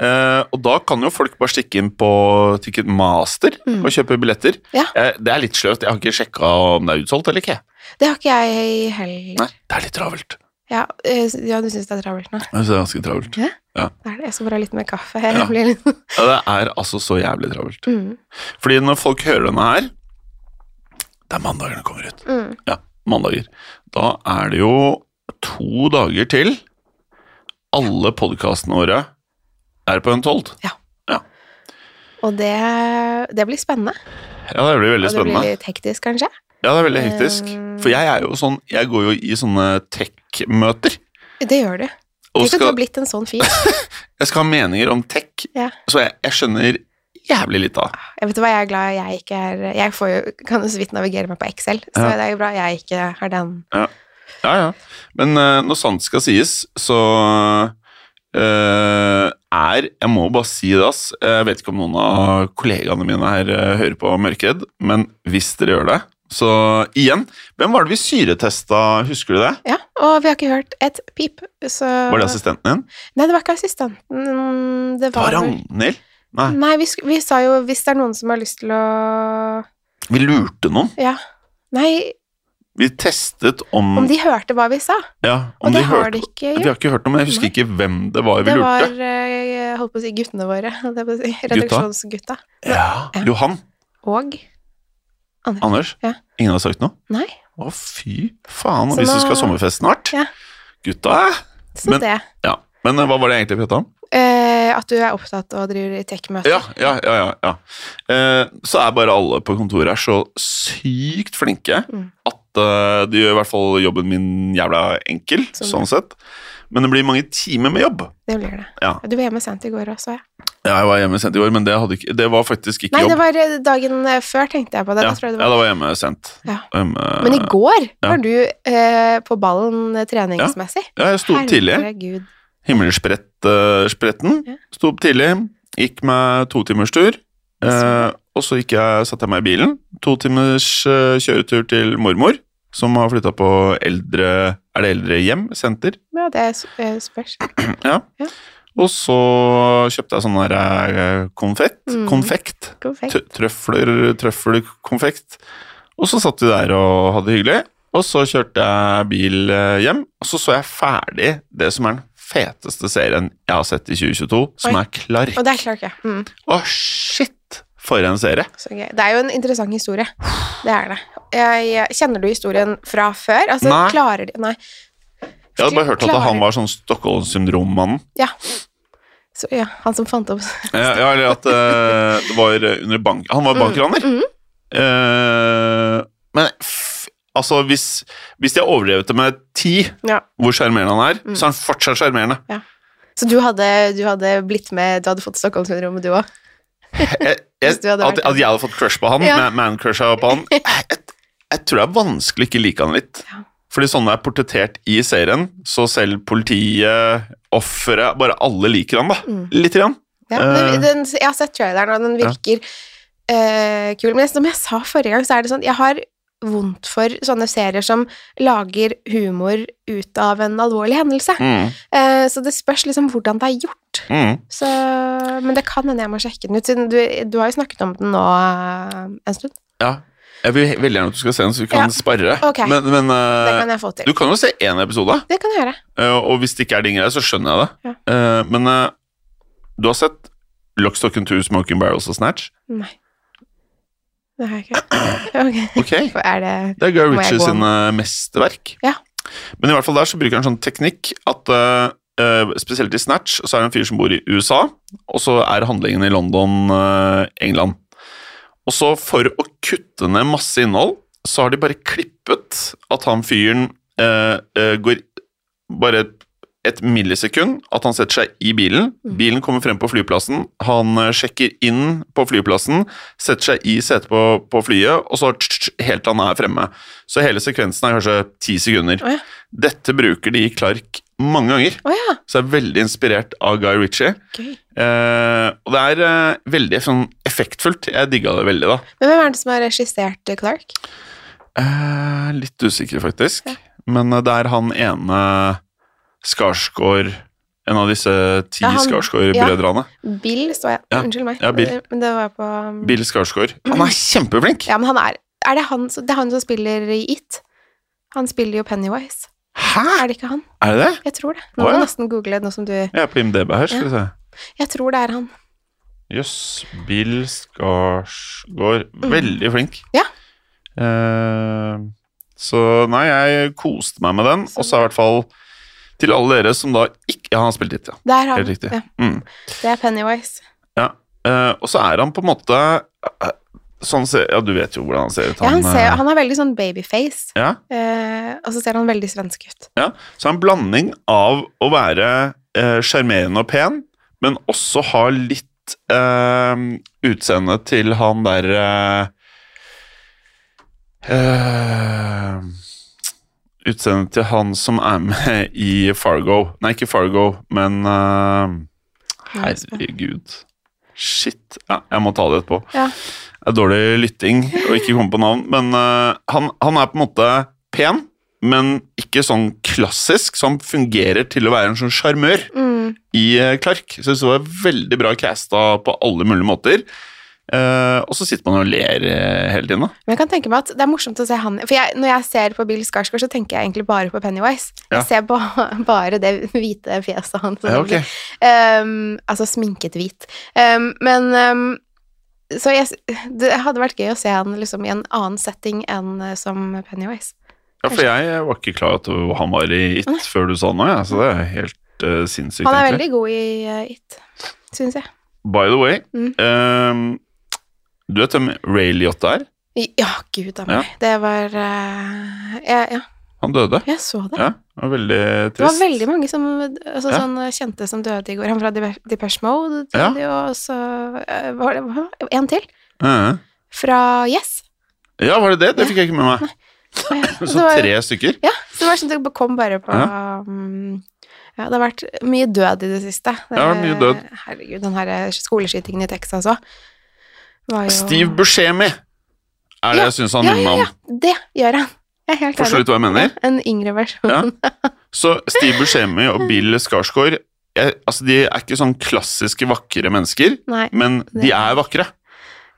Speaker 1: Eh, og da kan jo folk bare stikke inn på Ticketmaster
Speaker 2: Mm.
Speaker 1: og kjøpe billetter.
Speaker 2: Ja.
Speaker 1: Eh, det er litt sløvt. Jeg har ikke sjekka om det er utsolgt eller ikke.
Speaker 2: Det har ikke jeg heller.
Speaker 1: Nei, Det er litt travelt.
Speaker 2: Ja, eh, ja, du syns det er travelt nå?
Speaker 1: Jeg synes det er ganske travelt.
Speaker 2: Det er det. Jeg skal bare ha litt mer kaffe.
Speaker 1: Ja.
Speaker 2: Jeg blir litt
Speaker 1: Ja, det er altså så jævlig travelt.
Speaker 2: [LAUGHS] mm,
Speaker 1: Fordi når folk hører denne her Det er mandager den kommer ut.
Speaker 2: mm.
Speaker 1: Ja, mandager. Da er det jo to dager til alle podkastene våre er på en tolv.
Speaker 2: Og det, det blir spennende.
Speaker 1: Ja, det blir veldig
Speaker 2: Og det
Speaker 1: spennende.
Speaker 2: blir litt hektisk, kanskje.
Speaker 1: Ja, det er veldig hektisk.
Speaker 2: Eh,
Speaker 1: For jeg er jo sånn Jeg går jo i sånne tech-møter.
Speaker 2: Det gjør du.
Speaker 1: Og
Speaker 2: Tenk at du
Speaker 1: skal,
Speaker 2: har blitt en sånn fyr.
Speaker 1: jeg skal ha meninger om tech,
Speaker 2: Ja.
Speaker 1: så jeg, jeg skjønner jævlig litt av.
Speaker 2: Jeg vet hva, jeg er glad jeg ikke er Jeg får jo, kan jo så vidt navigere meg på Excel, så
Speaker 1: Ja.
Speaker 2: det er jo bra jeg ikke har den.
Speaker 1: Ja, ja. Men eh, når sant skal sies, så eh, er Jeg må bare si det, ass. Jeg vet ikke om noen av kollegaene mine her eh, hører på Mørkeredd, men hvis dere gjør det, så igjen Hvem var det vi syretesta, husker du det?
Speaker 2: Ja, og vi har ikke hørt et pip, så
Speaker 1: Var det assistenten din?
Speaker 2: Nei, det var ikke assistenten. Det
Speaker 1: Det var
Speaker 2: var
Speaker 1: Ragnhild. Nei,
Speaker 2: Nei, vi, sk- vi sa jo hvis det er noen som har lyst til å
Speaker 1: vi lurte noen.
Speaker 2: Ja. Nei,
Speaker 1: Vi testet om,
Speaker 2: om de hørte hva vi sa.
Speaker 1: Ja, Mm. om
Speaker 2: Og
Speaker 1: de
Speaker 2: det har
Speaker 1: hørte
Speaker 2: de ikke
Speaker 1: Vi
Speaker 2: gjort.
Speaker 1: har ikke hørt noe, men jeg husker
Speaker 2: Nei.
Speaker 1: ikke hvem det var vi
Speaker 2: Det var,
Speaker 1: lurte.
Speaker 2: eh, jeg holdt på å si, guttene våre. [LAUGHS] holdt jeg på å si, Redaksjonsgutta.
Speaker 1: Ja.
Speaker 2: Ja.
Speaker 1: Johan.
Speaker 2: Og
Speaker 1: Anders.
Speaker 2: Ja.
Speaker 1: Ingen har sagt noe?
Speaker 2: Nei.
Speaker 1: Å, fy faen.
Speaker 2: Så
Speaker 1: Hvis du
Speaker 2: nå-
Speaker 1: skal ha sommerfest snart.
Speaker 2: Ja.
Speaker 1: Gutta.
Speaker 2: Så
Speaker 1: Men-
Speaker 2: det.
Speaker 1: Ja. Men eh, hva var det jeg egentlig vi prata om?
Speaker 2: Eh, at du er opptatt og driver i tech-møter.
Speaker 1: Ja, ja, ja. ja, ja. Eh, så er bare alle på kontoret her så sykt flinke
Speaker 2: Mm.
Speaker 1: at eh, de gjør i hvert fall jobben min jævla enkel,
Speaker 2: Sånn.
Speaker 1: sånn sett. Men det blir mange timer med jobb.
Speaker 2: Det blir det.
Speaker 1: Ja.
Speaker 2: Du var hjemme sent i går også, ja.
Speaker 1: Ja, jeg var hjemme sent i går, men det, hadde ikke, det var faktisk ikke
Speaker 2: Nei, det
Speaker 1: jobb.
Speaker 2: var eh, dagen eh, før, tenkte jeg på det.
Speaker 1: ja,
Speaker 2: Da tror jeg det
Speaker 1: ja,
Speaker 2: var.
Speaker 1: det var hjemme sent.
Speaker 2: Ja.
Speaker 1: Hjemme,
Speaker 2: Men i går
Speaker 1: ja.
Speaker 2: var du eh, på ballen eh, treningsmessig.
Speaker 1: ja, jeg sto opp tidlig.
Speaker 2: Herregud.
Speaker 1: Himmelspretten.
Speaker 2: Ja.
Speaker 1: Sto opp tidlig, gikk meg to timers tur. Eh,
Speaker 2: Så-
Speaker 1: og så gikk jeg, satte jeg meg i bilen. To timers eh, kjøretur til mormor, som har flytta på eldre Er det eldrehjem? Senter?
Speaker 2: Ja, det s- eh, spørs.
Speaker 1: Ja.
Speaker 2: Ja.
Speaker 1: Og så kjøpte jeg sånn der eh, konfekt.
Speaker 2: Mm.
Speaker 1: konfekt.
Speaker 2: Perfekt.
Speaker 1: Tr- Trøfler, trøffelkonfekt. Og så satt vi der og hadde det hyggelig. Og så kjørte jeg bil eh, hjem, og så så jeg ferdig det som er den feteste serien jeg har sett i 2022, som
Speaker 2: Oi.
Speaker 1: er Clark.
Speaker 2: Og det er klart, ja. Mm,
Speaker 1: Å, shit! For en serie.
Speaker 2: så gøy. Det er jo en interessant historie. Det er det. Jeg, jeg, kjenner du historien fra før? Altså,
Speaker 1: Nei.
Speaker 2: klarer de Nei.
Speaker 1: Jeg hadde bare hørt at
Speaker 2: Klarer-
Speaker 1: han var sånn Stockholm-syndrom-mannen.
Speaker 2: Så, ja, han som fant opp
Speaker 1: Ja, ja, eller at eh, det var under bank... Han var bankraner.
Speaker 2: Mm, mm.
Speaker 1: Eh, men f altså, hvis, hvis de har overdrevet det med ti,
Speaker 2: Ja.
Speaker 1: hvor sjarmerende han er,
Speaker 2: Mm.
Speaker 1: så er han fortsatt sjarmerende.
Speaker 2: Så du hadde, du hadde blitt med Du hadde fått Stockholmssyndromet, du òg?
Speaker 1: jeg, jeg,
Speaker 2: Hvis du hadde
Speaker 1: at,
Speaker 2: vært
Speaker 1: at jeg hadde fått crush på han,
Speaker 2: Ja.
Speaker 1: man- man-crusha på
Speaker 2: [LAUGHS]
Speaker 1: han jeg, jeg, jeg tror det er vanskelig å ikke like han litt.
Speaker 2: Ja.
Speaker 1: Fordi sånn det er portrettert i serien, så selv politiet, offeret, bare alle liker han, da.
Speaker 2: Mm.
Speaker 1: Litt. Grann.
Speaker 2: Ja,
Speaker 1: Eh.
Speaker 2: den, den, jeg har sett traileren, og den
Speaker 1: Ja.
Speaker 2: virker eh, kul. Men jeg- som jeg sa forrige gang, så er det sånn Jeg har vondt for sånne serier som lager humor ut av en alvorlig hendelse.
Speaker 1: Mm.
Speaker 2: Eh, så det spørs liksom hvordan det er gjort.
Speaker 1: Mm.
Speaker 2: Så, men det kan hende jeg må sjekke den ut, siden du, du har jo snakket om den nå eh, en stund.
Speaker 1: Ja. Jeg vil he- veldig gjerne at du skal se den, så vi kan
Speaker 2: Ja.
Speaker 1: sparre.
Speaker 2: Ok.
Speaker 1: Men, men eh,
Speaker 2: Det kan jeg få til.
Speaker 1: du kan jo se én episode,
Speaker 2: Det kan jeg gjøre.
Speaker 1: eh, og hvis det ikke er din greie, så skjønner jeg det. Eh, Men eh, du har sett Lockstock and Two Smoking Barrels og Snatch?
Speaker 2: Nei. Det har
Speaker 1: [LAUGHS]
Speaker 2: jeg ikke. Ok.
Speaker 1: Ok.
Speaker 2: Er det
Speaker 1: Det er Guy
Speaker 2: Må jeg
Speaker 1: Ritchie
Speaker 2: gå
Speaker 1: sine mesterverk.
Speaker 2: Ja.
Speaker 1: Men i hvert fall der så bruker han sånn teknikk at eh, eh, spesielt i Snatch så er det en fyr som bor i USA, og så er handlingen i London, eh, England. Og så for å kutte ned masse innhold, så har de bare klippet at han fyren eh, eh, går bare et, et millisekund, at han setter seg i bilen.
Speaker 2: Mm.
Speaker 1: Bilen kommer frem på flyplassen, han eh, sjekker inn på flyplassen, setter seg i setet på, på flyet, og så tsk, tsk, helt til han er fremme. Så hele sekvensen er kanskje ti sekunder.
Speaker 2: Å ja.
Speaker 1: Dette bruker de i Clark mange ganger,
Speaker 2: Å ja,
Speaker 1: så jeg er veldig inspirert av Guy Ritchie.
Speaker 2: gøy.
Speaker 1: Eh, og det er eh, veldig sånn, effektfullt. Jeg digga det veldig, da.
Speaker 2: Men hvem er det som har regissert eh, Clark?
Speaker 1: Eh, litt usikker, faktisk. Men eh, det er han ene Skarsgård En av disse ti
Speaker 2: Ja, Mm. han-
Speaker 1: Skarsgård-brødrene.
Speaker 2: Bill, står jeg.
Speaker 1: Ja.
Speaker 2: Unnskyld meg.
Speaker 1: Ja, Bill.
Speaker 2: Eh, Men det var på
Speaker 1: Bill Skarsgård. Han er kjempeflink!
Speaker 2: Ja, men han er Er det han, som- det er han som spiller i It? Han spiller jo Pennywise.
Speaker 1: Hæ?!
Speaker 2: Er det ikke han?
Speaker 1: Er det det?
Speaker 2: Jeg tror det.
Speaker 1: Å,
Speaker 2: Nå må
Speaker 1: ja.
Speaker 2: jeg nesten google nå som du
Speaker 1: Jeg er på IMDb her, skal vi se.
Speaker 2: Jeg tror det er han.
Speaker 1: Jøss. Bill Skarsgård. Veldig flink.
Speaker 2: Mm. Ja.
Speaker 1: Eh, så nei, jeg koste meg med den.
Speaker 2: Så
Speaker 1: Og så er i hvert fall til alle dere som da ikke Ja, han har spilt litt, ja.
Speaker 2: Det er han.
Speaker 1: Helt riktig.
Speaker 2: Ja,
Speaker 1: Mm.
Speaker 2: det er Pennywise.
Speaker 1: Ja, eh, og så er han på en måte eh, Sånn ser Ja, du vet jo hvordan han ser ut.
Speaker 2: Ja, han, ser,
Speaker 1: eh,
Speaker 2: han har veldig sånn babyface,
Speaker 1: ja.
Speaker 2: eh, og så ser han veldig svensk ut.
Speaker 1: Ja, så en blanding av å være eh, sjarmerende og pen, men også ha litt eh, utseende til han der eh, eh, Utseende til han som er med i Fargo. Nei, ikke Fargo, men eh, Herregud. Shit. Ja, jeg må ta det etterpå.
Speaker 2: Ja.
Speaker 1: Det er dårlig lytting å ikke komme på navn, men eh, han, han er på en måte pen, men ikke sånn klassisk, så han fungerer til å være en sånn sjarmør
Speaker 2: Mm.
Speaker 1: i eh, Clark. Så det var veldig bra casta på alle mulige måter. Eh, og så sitter man og ler eh, hele tiden, da.
Speaker 2: Men jeg kan tenke meg at det er morsomt å se han For jeg, når jeg ser på Bill Skarsgård, så tenker jeg egentlig bare på Pennywise.
Speaker 1: Ja.
Speaker 2: Jeg ser på, [LAUGHS] bare det hvite fjeset hans.
Speaker 1: Ja, ok.
Speaker 2: Ehm, altså sminket hvit. Ehm, men ehm, Så jeg, det hadde vært gøy å se han liksom, i en annen setting enn eh, som Pennywise.
Speaker 1: ja, for jeg var ikke klar over at han var i It før du sa noe, ja, så det er helt eh, sinnssykt.
Speaker 2: Han er
Speaker 1: egentlig.
Speaker 2: veldig god i eh, It, syns jeg.
Speaker 1: By the way,
Speaker 2: Mm.
Speaker 1: eh, du vet hvem Ray Liotta er?
Speaker 2: I- Ja, gud a meg. Det var eh, jeg, Ja,
Speaker 1: Han døde.
Speaker 2: jeg så det.
Speaker 1: Ja, det var veldig trist.
Speaker 2: Det var veldig mange som, altså,
Speaker 1: Ja.
Speaker 2: sånn, kjente som døde i går. Han fra Dep- Depeche Mode,
Speaker 1: Ja.
Speaker 2: døde jo, og så eh, var det hva? en til.
Speaker 1: Ja.
Speaker 2: Fra
Speaker 1: [LAUGHS]
Speaker 2: Yes.
Speaker 1: Ja, var det det? Det fikk jeg ikke med meg.
Speaker 2: Å, ja.
Speaker 1: Så
Speaker 2: Det var-
Speaker 1: tre stykker.
Speaker 2: Ja, så det var sånn at det kom bare på mm, ja, det har vært mye død i det siste. Det,
Speaker 1: Ja, mye død.
Speaker 2: Herregud, den her skoleskytingen i Texas òg.
Speaker 1: Steve Buscemi er det
Speaker 2: Ja,
Speaker 1: jeg syns han
Speaker 2: ja,
Speaker 1: minner
Speaker 2: ja,
Speaker 1: meg
Speaker 2: ja, det gjør han. Jeg er helt
Speaker 1: om. Forstår du hva jeg mener?
Speaker 2: En yngre versjon.
Speaker 1: Ja. Så Steve Buscemi og Bill Skarsgård jeg, altså De er ikke sånn klassiske vakre mennesker,
Speaker 2: [LAUGHS] Nei.
Speaker 1: men de er vakre.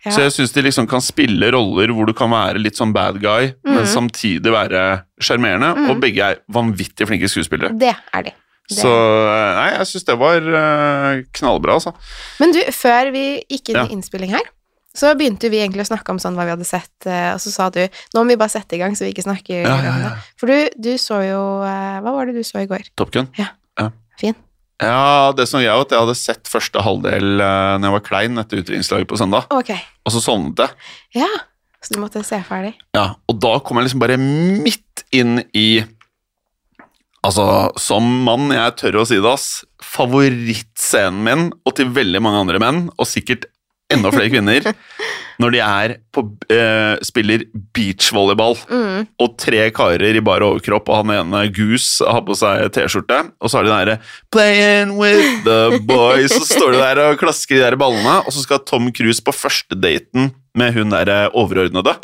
Speaker 2: Ja.
Speaker 1: Så jeg syns de liksom kan spille roller hvor du kan være litt sånn bad guy,
Speaker 2: Mhm.
Speaker 1: men samtidig være sjarmerende,
Speaker 2: Mhm.
Speaker 1: og begge er vanvittig flinke skuespillere.
Speaker 2: Det er de. Det.
Speaker 1: Så nei, jeg syns det var eh, knallbra, altså.
Speaker 2: Men du, før vi gikk inn
Speaker 1: Ja.
Speaker 2: i innspilling her, så begynte vi egentlig å snakke om sånn hva vi hadde sett, eh, og så sa du nå må vi bare sette i gang så vi ikke snakker
Speaker 1: Ja, ja,
Speaker 2: om
Speaker 1: ja.
Speaker 2: det. For du, du så jo eh, Hva var det du så i går?
Speaker 1: Top Gun.
Speaker 2: Ja.
Speaker 1: ja.
Speaker 2: Fin.
Speaker 1: Ja, det som jeg at jeg hadde sett første halvdel eh, når jeg var klein etter utdrikningslaget på søndag,
Speaker 2: Ok.
Speaker 1: og så sovnet jeg.
Speaker 2: Ja. Så du måtte se ferdig.
Speaker 1: Ja, og da kom jeg liksom bare midt inn i Altså, som mann, jeg tør å si det, ass. Favorittscenen min, og til veldig mange andre menn, og sikkert enda flere kvinner, når de er på eh, Spiller beachvolleyball,
Speaker 2: Mm.
Speaker 1: og tre karer i bar overkropp, og han ene Goose har på seg T-skjorte, og så har de den derre 'Playing with the boys', så står de der og klasker de der ballene, og så skal Tom Cruise på første daten med hun derre overordnede.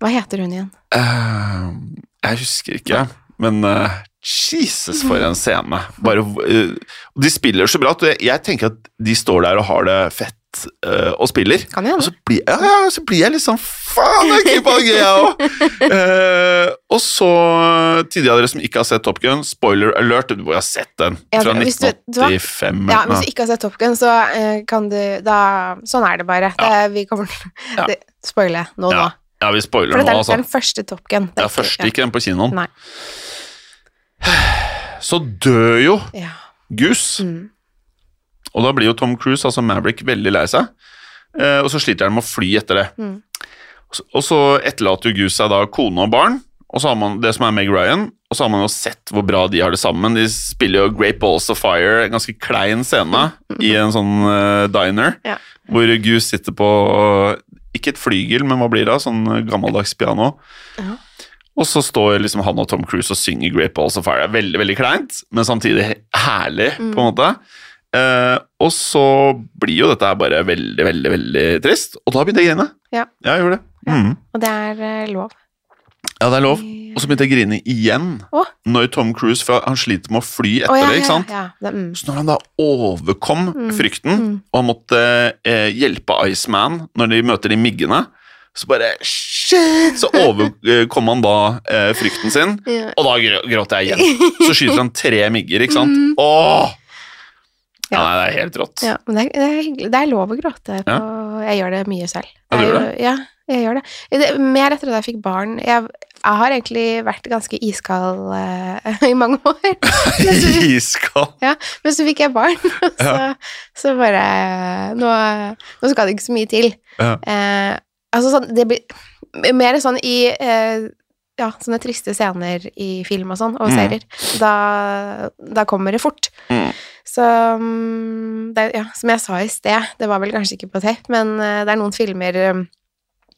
Speaker 2: Hva heter hun igjen?
Speaker 1: Eh, jeg husker ikke, men eh, Jesus, for en scene. Bare, eh, og de spiller så bra at jeg, jeg tenker at de står der og har det fett eh, og spiller.
Speaker 2: Kan jo
Speaker 1: Og
Speaker 2: hende.
Speaker 1: så blir, ja, ja, så blir jeg litt sånn Faen, jeg er ikke på det gøy, jeg òg! og så, til de av dere som ikke har sett Top Gun, spoiler alert, du må jo ha sett den.
Speaker 2: Ja,
Speaker 1: Fra
Speaker 2: hvis du- du har-
Speaker 1: 1985.
Speaker 2: Ja,
Speaker 1: eller
Speaker 2: Hvis
Speaker 1: noe.
Speaker 2: du ikke har sett Top Gun, så eh, kan du da, Sånn er det bare. Det, vi kommer til
Speaker 1: Ja.
Speaker 2: det, Spoile nå, nå.
Speaker 1: ja, ja, vi spoiler
Speaker 2: For det
Speaker 1: nå,
Speaker 2: er, det
Speaker 1: altså.
Speaker 2: er den første Top Gun.
Speaker 1: Det er først ikke den på kinoen.
Speaker 2: Nei.
Speaker 1: Så dør jo
Speaker 2: Ja. Ja.
Speaker 1: Goose.
Speaker 2: Mm.
Speaker 1: Og da blir jo Tom Cruise, altså Maverick, veldig lei seg. Eh, og så sliter han med å fly etter det.
Speaker 2: Mm.
Speaker 1: Og så- Og så etterlater jo Goose seg da kone og barn, og så har man det som er Meg Ryan. Og så har man jo sett hvor bra de har det sammen. De spiller jo Great Balls of Fire, en ganske klein scene, i en sånn eh, diner,
Speaker 2: Ja.
Speaker 1: hvor Goose sitter på eh, ikke et flygel, men hva blir det? da? Sånn eh, gammeldags piano.
Speaker 2: Ja.
Speaker 1: Og så står liksom han og Tom Cruise og synger Great Balls of Fire. Veldig, veldig kleint, men samtidig he- herlig,
Speaker 2: Mm.
Speaker 1: på en måte. Eh, og så blir jo dette her bare veldig, veldig veldig trist. Og da begynte jeg å grine.
Speaker 2: Ja.
Speaker 1: jeg gjorde det.
Speaker 2: Ja.
Speaker 1: Mm.
Speaker 2: Og det er eh, lov.
Speaker 1: Ja, det er lov.
Speaker 2: Ja.
Speaker 1: Og så begynte jeg å grine igjen
Speaker 2: Å.
Speaker 1: når Tom Cruise for han sliter med å fly etter
Speaker 2: Å, ja,
Speaker 1: det. ikke sant?
Speaker 2: Ja, ja. Det, mm.
Speaker 1: Så når han da overkom
Speaker 2: Mm,
Speaker 1: frykten,
Speaker 2: mm.
Speaker 1: og han måtte eh, hjelpe Iceman når de møter de miggene, så bare shit, så overkom han da eh, frykten sin,
Speaker 2: Ja.
Speaker 1: og da grå- gråter jeg igjen. Så skyter han tre migger, ikke sant? Åh! Ja,
Speaker 2: Mm. Ja.
Speaker 1: nei, det er helt rått. [LAUGHS]
Speaker 2: Ja, men det er, det er hyggelig. Det er lov å gråte. På, Jeg gjør det mye selv.
Speaker 1: Ja, du
Speaker 2: er
Speaker 1: gjør
Speaker 2: jo- Ja, jeg gjør det. det. Mer etter at jeg fikk barn. Jeg, jeg har egentlig vært ganske iskald eh, [LAUGHS] i mange
Speaker 1: [LAUGHS]
Speaker 2: år. Men så,
Speaker 1: Iskald.
Speaker 2: men så fikk jeg barn, [LAUGHS] og så, så bare nå, nå skal det ikke så mye til.
Speaker 1: Ja.
Speaker 2: Eh, altså sånn Det blir mer sånn i eh, ja, sånne triste scener i film og sånn, og
Speaker 1: Mm.
Speaker 2: serier. Da, da kommer det fort.
Speaker 1: Mm.
Speaker 2: Så mm, det, er- ja, Som jeg sa i sted, det var vel kanskje ikke på tape, men eh, det er noen filmer eh,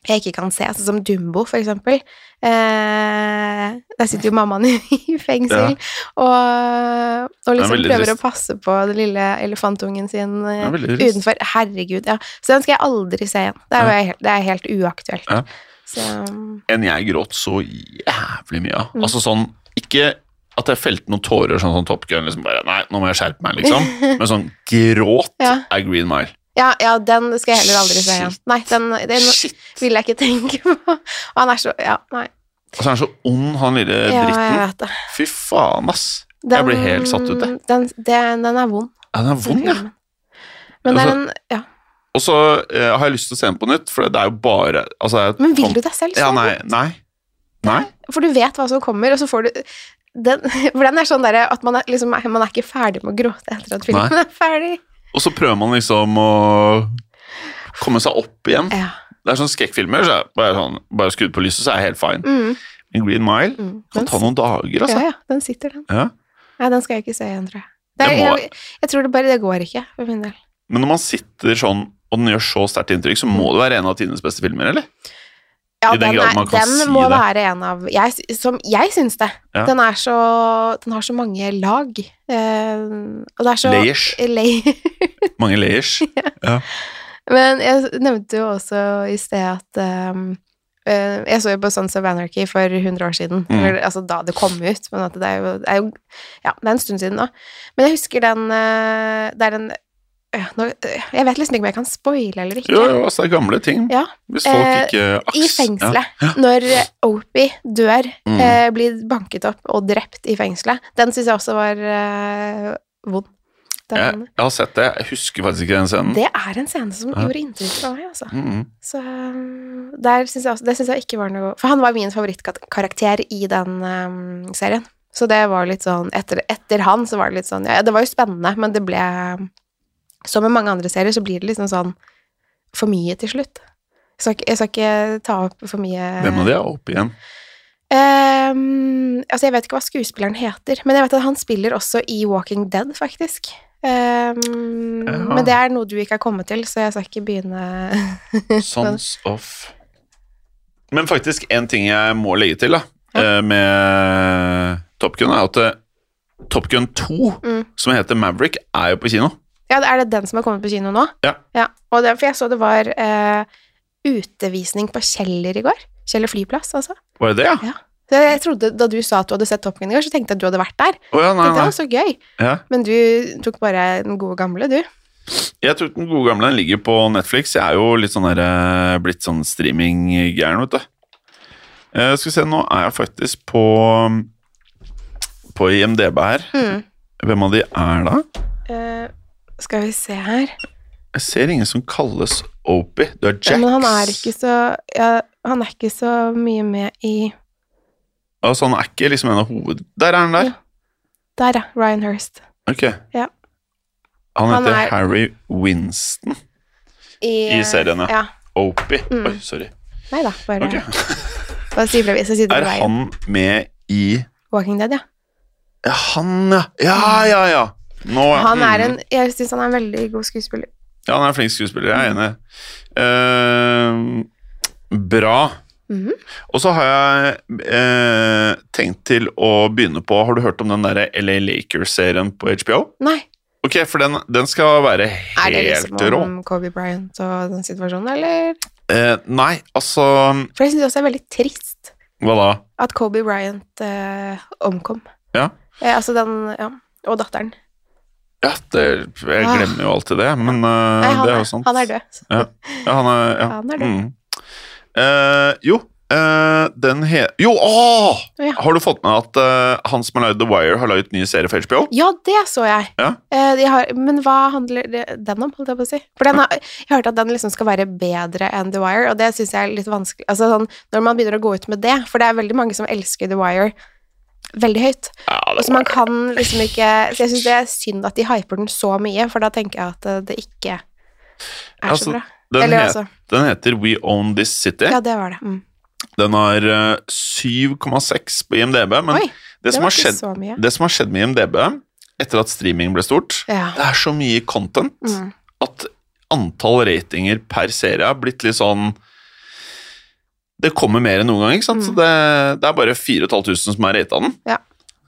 Speaker 2: jeg ikke kan se, sånn som Dumbo, for eksempel. Eh, der sitter jo mammaen [LAUGHS] i, i fengsel og, og liksom
Speaker 1: veldig
Speaker 2: prøver
Speaker 1: trist.
Speaker 2: å passe på den lille elefantungen sin
Speaker 1: Det
Speaker 2: eh,
Speaker 1: er veldig trist.
Speaker 2: utenfor. Herregud, ja. Så den skal jeg aldri se igjen. Det er, jo helt, det er helt uaktuelt.
Speaker 1: Ja.
Speaker 2: Så
Speaker 1: enn jeg gråt så jævlig mye av.
Speaker 2: Mm.
Speaker 1: Altså sånn, ikke at jeg felte noen tårer sånn som Top Gun, liksom bare, nei, nå må jeg skjerpe meg, liksom.
Speaker 2: [LAUGHS]
Speaker 1: Men sånn, gråt
Speaker 2: Ja.
Speaker 1: er Green Mile.
Speaker 2: ja, ja, den skal jeg heller aldri se igjen. Nei, den, den
Speaker 1: Shit!
Speaker 2: vil jeg ikke tenke på. [LAUGHS] Og han er så Ja, nei.
Speaker 1: Altså, han er så ond, han lille
Speaker 2: Ja, jeg
Speaker 1: dritten.
Speaker 2: vet det.
Speaker 1: Fy faen, ass. jeg blir helt satt ut, jeg.
Speaker 2: Den, den, den er vond.
Speaker 1: Ja, den er
Speaker 2: den
Speaker 1: vond, ja. Altså,
Speaker 2: filmen. Men, det er en, ja.
Speaker 1: Og så eh, har jeg lyst til å se den på nytt, for det er jo bare, altså... Jeg,
Speaker 2: Men vil du deg selv så
Speaker 1: Ja, nei, nei. Nei?
Speaker 2: For du vet hva som kommer, og så får du den, [LAUGHS] For den er sånn der at man er, liksom, man er ikke ferdig med å gråte etter at filmen
Speaker 1: Nei.
Speaker 2: er ferdig.
Speaker 1: Og så prøver man liksom å komme seg opp igjen.
Speaker 2: Ja.
Speaker 1: Det er sånn skrekkfilmer, så er jeg bare sånn, bare skudd på lyset, så er jeg helt fine.
Speaker 2: Mm,
Speaker 1: Men Green Mile
Speaker 2: mm.
Speaker 1: kan ta noen dager, altså.
Speaker 2: ja, ja, den sitter, den.
Speaker 1: Ja.
Speaker 2: Nei, den skal jeg ikke se igjen, tror jeg. Det er,
Speaker 1: Det må-
Speaker 2: jeg, jeg tror det bare det går ikke, for min del.
Speaker 1: Men når man sitter sånn, og den gjør så sterkt inntrykk, så må det være en av tidenes beste filmer, eller?
Speaker 2: Ja,
Speaker 1: I den grad man kan
Speaker 2: den
Speaker 1: si
Speaker 2: må
Speaker 1: det.
Speaker 2: være en av jeg, sy- Som jeg syns det.
Speaker 1: Ja.
Speaker 2: Den, er så, den har så mange lag. Eh, og det er så
Speaker 1: Layers.
Speaker 2: [LAUGHS] Lay-
Speaker 1: Mange
Speaker 2: [LAUGHS]
Speaker 1: layers.
Speaker 2: Men jeg nevnte jo også i sted at ehm, eh, Jeg så jo på Sons of Anarchy for 100 år siden.
Speaker 1: Mm.
Speaker 2: Eller, altså da det kom ut, men at det er jo, det er jo Ja, det er en stund siden nå. Men jeg husker den eh, Det er en øh, nå, øh, Jeg vet nesten ikke om jeg kan spoile eller ikke.
Speaker 1: Jo, jo, altså det er gamle ting.
Speaker 2: Ja.
Speaker 1: Hvis folk
Speaker 2: Eh,
Speaker 1: ikke aks,
Speaker 2: I fengselet. Når eh, Opie dør,
Speaker 1: Mm.
Speaker 2: eh, blir banket opp og drept i fengselet. Den syns jeg også var eh, vond.
Speaker 1: Ja. Jeg,
Speaker 2: Den,
Speaker 1: jeg har sett det, jeg husker faktisk ikke den scenen.
Speaker 2: det er en scene som
Speaker 1: Ja.
Speaker 2: gjorde inntrykk på meg, altså.
Speaker 1: Mhm.
Speaker 2: Så um, der synes jeg også, det syns jeg ikke var noe For han var min favorittkarakter i den um, serien. Så det var litt sånn etter, etter han så var det litt sånn Ja, det var jo spennende, men det ble Som med mange andre serier, så blir det liksom sånn for mye til slutt. Så jeg, jeg skal ikke ta opp for mye
Speaker 1: Hvem av de er oppe igjen?
Speaker 2: Ehm, altså, jeg vet ikke hva skuespilleren heter, men jeg vet at han spiller også i Walking Dead, faktisk. Ehm,
Speaker 1: Jaha.
Speaker 2: Men det er noe du ikke har kommet til, så jeg skal ikke begynne
Speaker 1: [LAUGHS] Sons of Men faktisk en ting jeg må legge til da, eh, med Top Gun, er at eh, Top Gun 2,
Speaker 2: Mm.
Speaker 1: som heter Maverick, er jo på kino.
Speaker 2: Ja, er det den som har kommet på kino nå?
Speaker 1: Ja.
Speaker 2: og det, for jeg så det var eh, utevisning på Kjeller i går. Kjeller flyplass, altså.
Speaker 1: Var det det, ja?
Speaker 2: Så jeg trodde, Da du sa at du hadde sett Top Gun i går, så tenkte jeg at du hadde vært der.
Speaker 1: Å ja, nei,
Speaker 2: Tenkte jeg,
Speaker 1: nei.
Speaker 2: «Å, så gøy.
Speaker 1: Ja.
Speaker 2: Men du tok bare den gode gamle, du.
Speaker 1: Jeg tror den gode gamle den ligger på Netflix. Jeg er jo litt sånn der, eh, blitt sånn streaminggæren, vet du. Eh, skal vi se, nå er jeg faktisk på, på IMDb her.
Speaker 2: Mm.
Speaker 1: Hvem av de er da?
Speaker 2: Eh, skal vi se her
Speaker 1: Jeg ser ingen som kalles Opie. Du er Jax.
Speaker 2: Men han er ikke så ja, Han er ikke så mye med i
Speaker 1: Altså, han er ikke liksom en av hoved... Der er han der!
Speaker 2: Ja. Der, ja. Ryan Hurst.
Speaker 1: Ok.
Speaker 2: Ja.
Speaker 1: Han
Speaker 2: Han
Speaker 1: heter
Speaker 2: er-
Speaker 1: Harry Winston i serien, ja.
Speaker 2: ja.
Speaker 1: Opie.
Speaker 2: Mm.
Speaker 1: Oi, sorry.
Speaker 2: Nei da, bare,
Speaker 1: Ok.
Speaker 2: bare si fra hvis jeg sitter
Speaker 1: Er
Speaker 2: på veien.
Speaker 1: han med i
Speaker 2: Walking Dead, ja.
Speaker 1: Ja, han, ja. Ja, ja, ja. Nå, ja.
Speaker 2: Han er
Speaker 1: Mm.
Speaker 2: en, jeg syns han er en veldig god skuespiller.
Speaker 1: Ja, han er en flink skuespiller, jeg er enig. Eh, bra.
Speaker 2: Mhm.
Speaker 1: Og så har jeg eh, tenkt til å begynne på Har du hørt om den derre LA Lakers-serien på HBO?
Speaker 2: Nei.
Speaker 1: Ok, for den, den skal være
Speaker 2: Er det
Speaker 1: helt
Speaker 2: liksom
Speaker 1: rå.
Speaker 2: om Kobe Bryant og den situasjonen, eller?
Speaker 1: Eh, nei, altså
Speaker 2: For jeg syns det også er veldig trist
Speaker 1: Hva da?
Speaker 2: at Kobe Bryant eh, omkom.
Speaker 1: Ja.
Speaker 2: Eh, altså den Ja. Og datteren.
Speaker 1: Ja, det, jeg
Speaker 2: Ah.
Speaker 1: glemmer jo alltid det, men eh,
Speaker 2: Nei, han,
Speaker 1: det er jo
Speaker 2: er,
Speaker 1: sant.
Speaker 2: han er død.
Speaker 1: Ja, han er, ja.
Speaker 2: Han er død.
Speaker 1: Mm. Eh, jo, eh, den he... Jo, åh!
Speaker 2: Ja.
Speaker 1: Har du fått med at eh, han som har lagd The Wire, har laget nye serier for HBO?
Speaker 2: Ja, det så jeg.
Speaker 1: Ja.
Speaker 2: Eh, jeg har, men hva handler det, den om, holdt jeg på å si? For den har, jeg hørte at den liksom skal være bedre enn The Wire, og det syns jeg er litt vanskelig altså, sånn, Når man begynner å gå ut med det, for det er veldig mange som elsker The Wire veldig høyt.
Speaker 1: Ja,
Speaker 2: Så man kan liksom ikke Så jeg syns det er synd at de hyper den så mye, for da tenker jeg at eh, det ikke er
Speaker 1: Altså,
Speaker 2: så bra.
Speaker 1: Den,
Speaker 2: Eller
Speaker 1: het-
Speaker 2: altså
Speaker 1: den heter We Own This City.
Speaker 2: Ja, det var det. Mm.
Speaker 1: Den har eh, 7,6 på IMDb, men
Speaker 2: Oi,
Speaker 1: det,
Speaker 2: det
Speaker 1: som
Speaker 2: var
Speaker 1: har
Speaker 2: ikke
Speaker 1: skjedd,
Speaker 2: så mye.
Speaker 1: det som har skjedd med IMDb etter at streaming ble stort,
Speaker 2: Ja.
Speaker 1: det er så mye content
Speaker 2: Mm.
Speaker 1: at antall ratinger per serie har blitt litt sånn Det kommer mer enn noen gang, ikke sant? Så
Speaker 2: Mm.
Speaker 1: det, det er bare 4500 som er rata den.
Speaker 2: Ja.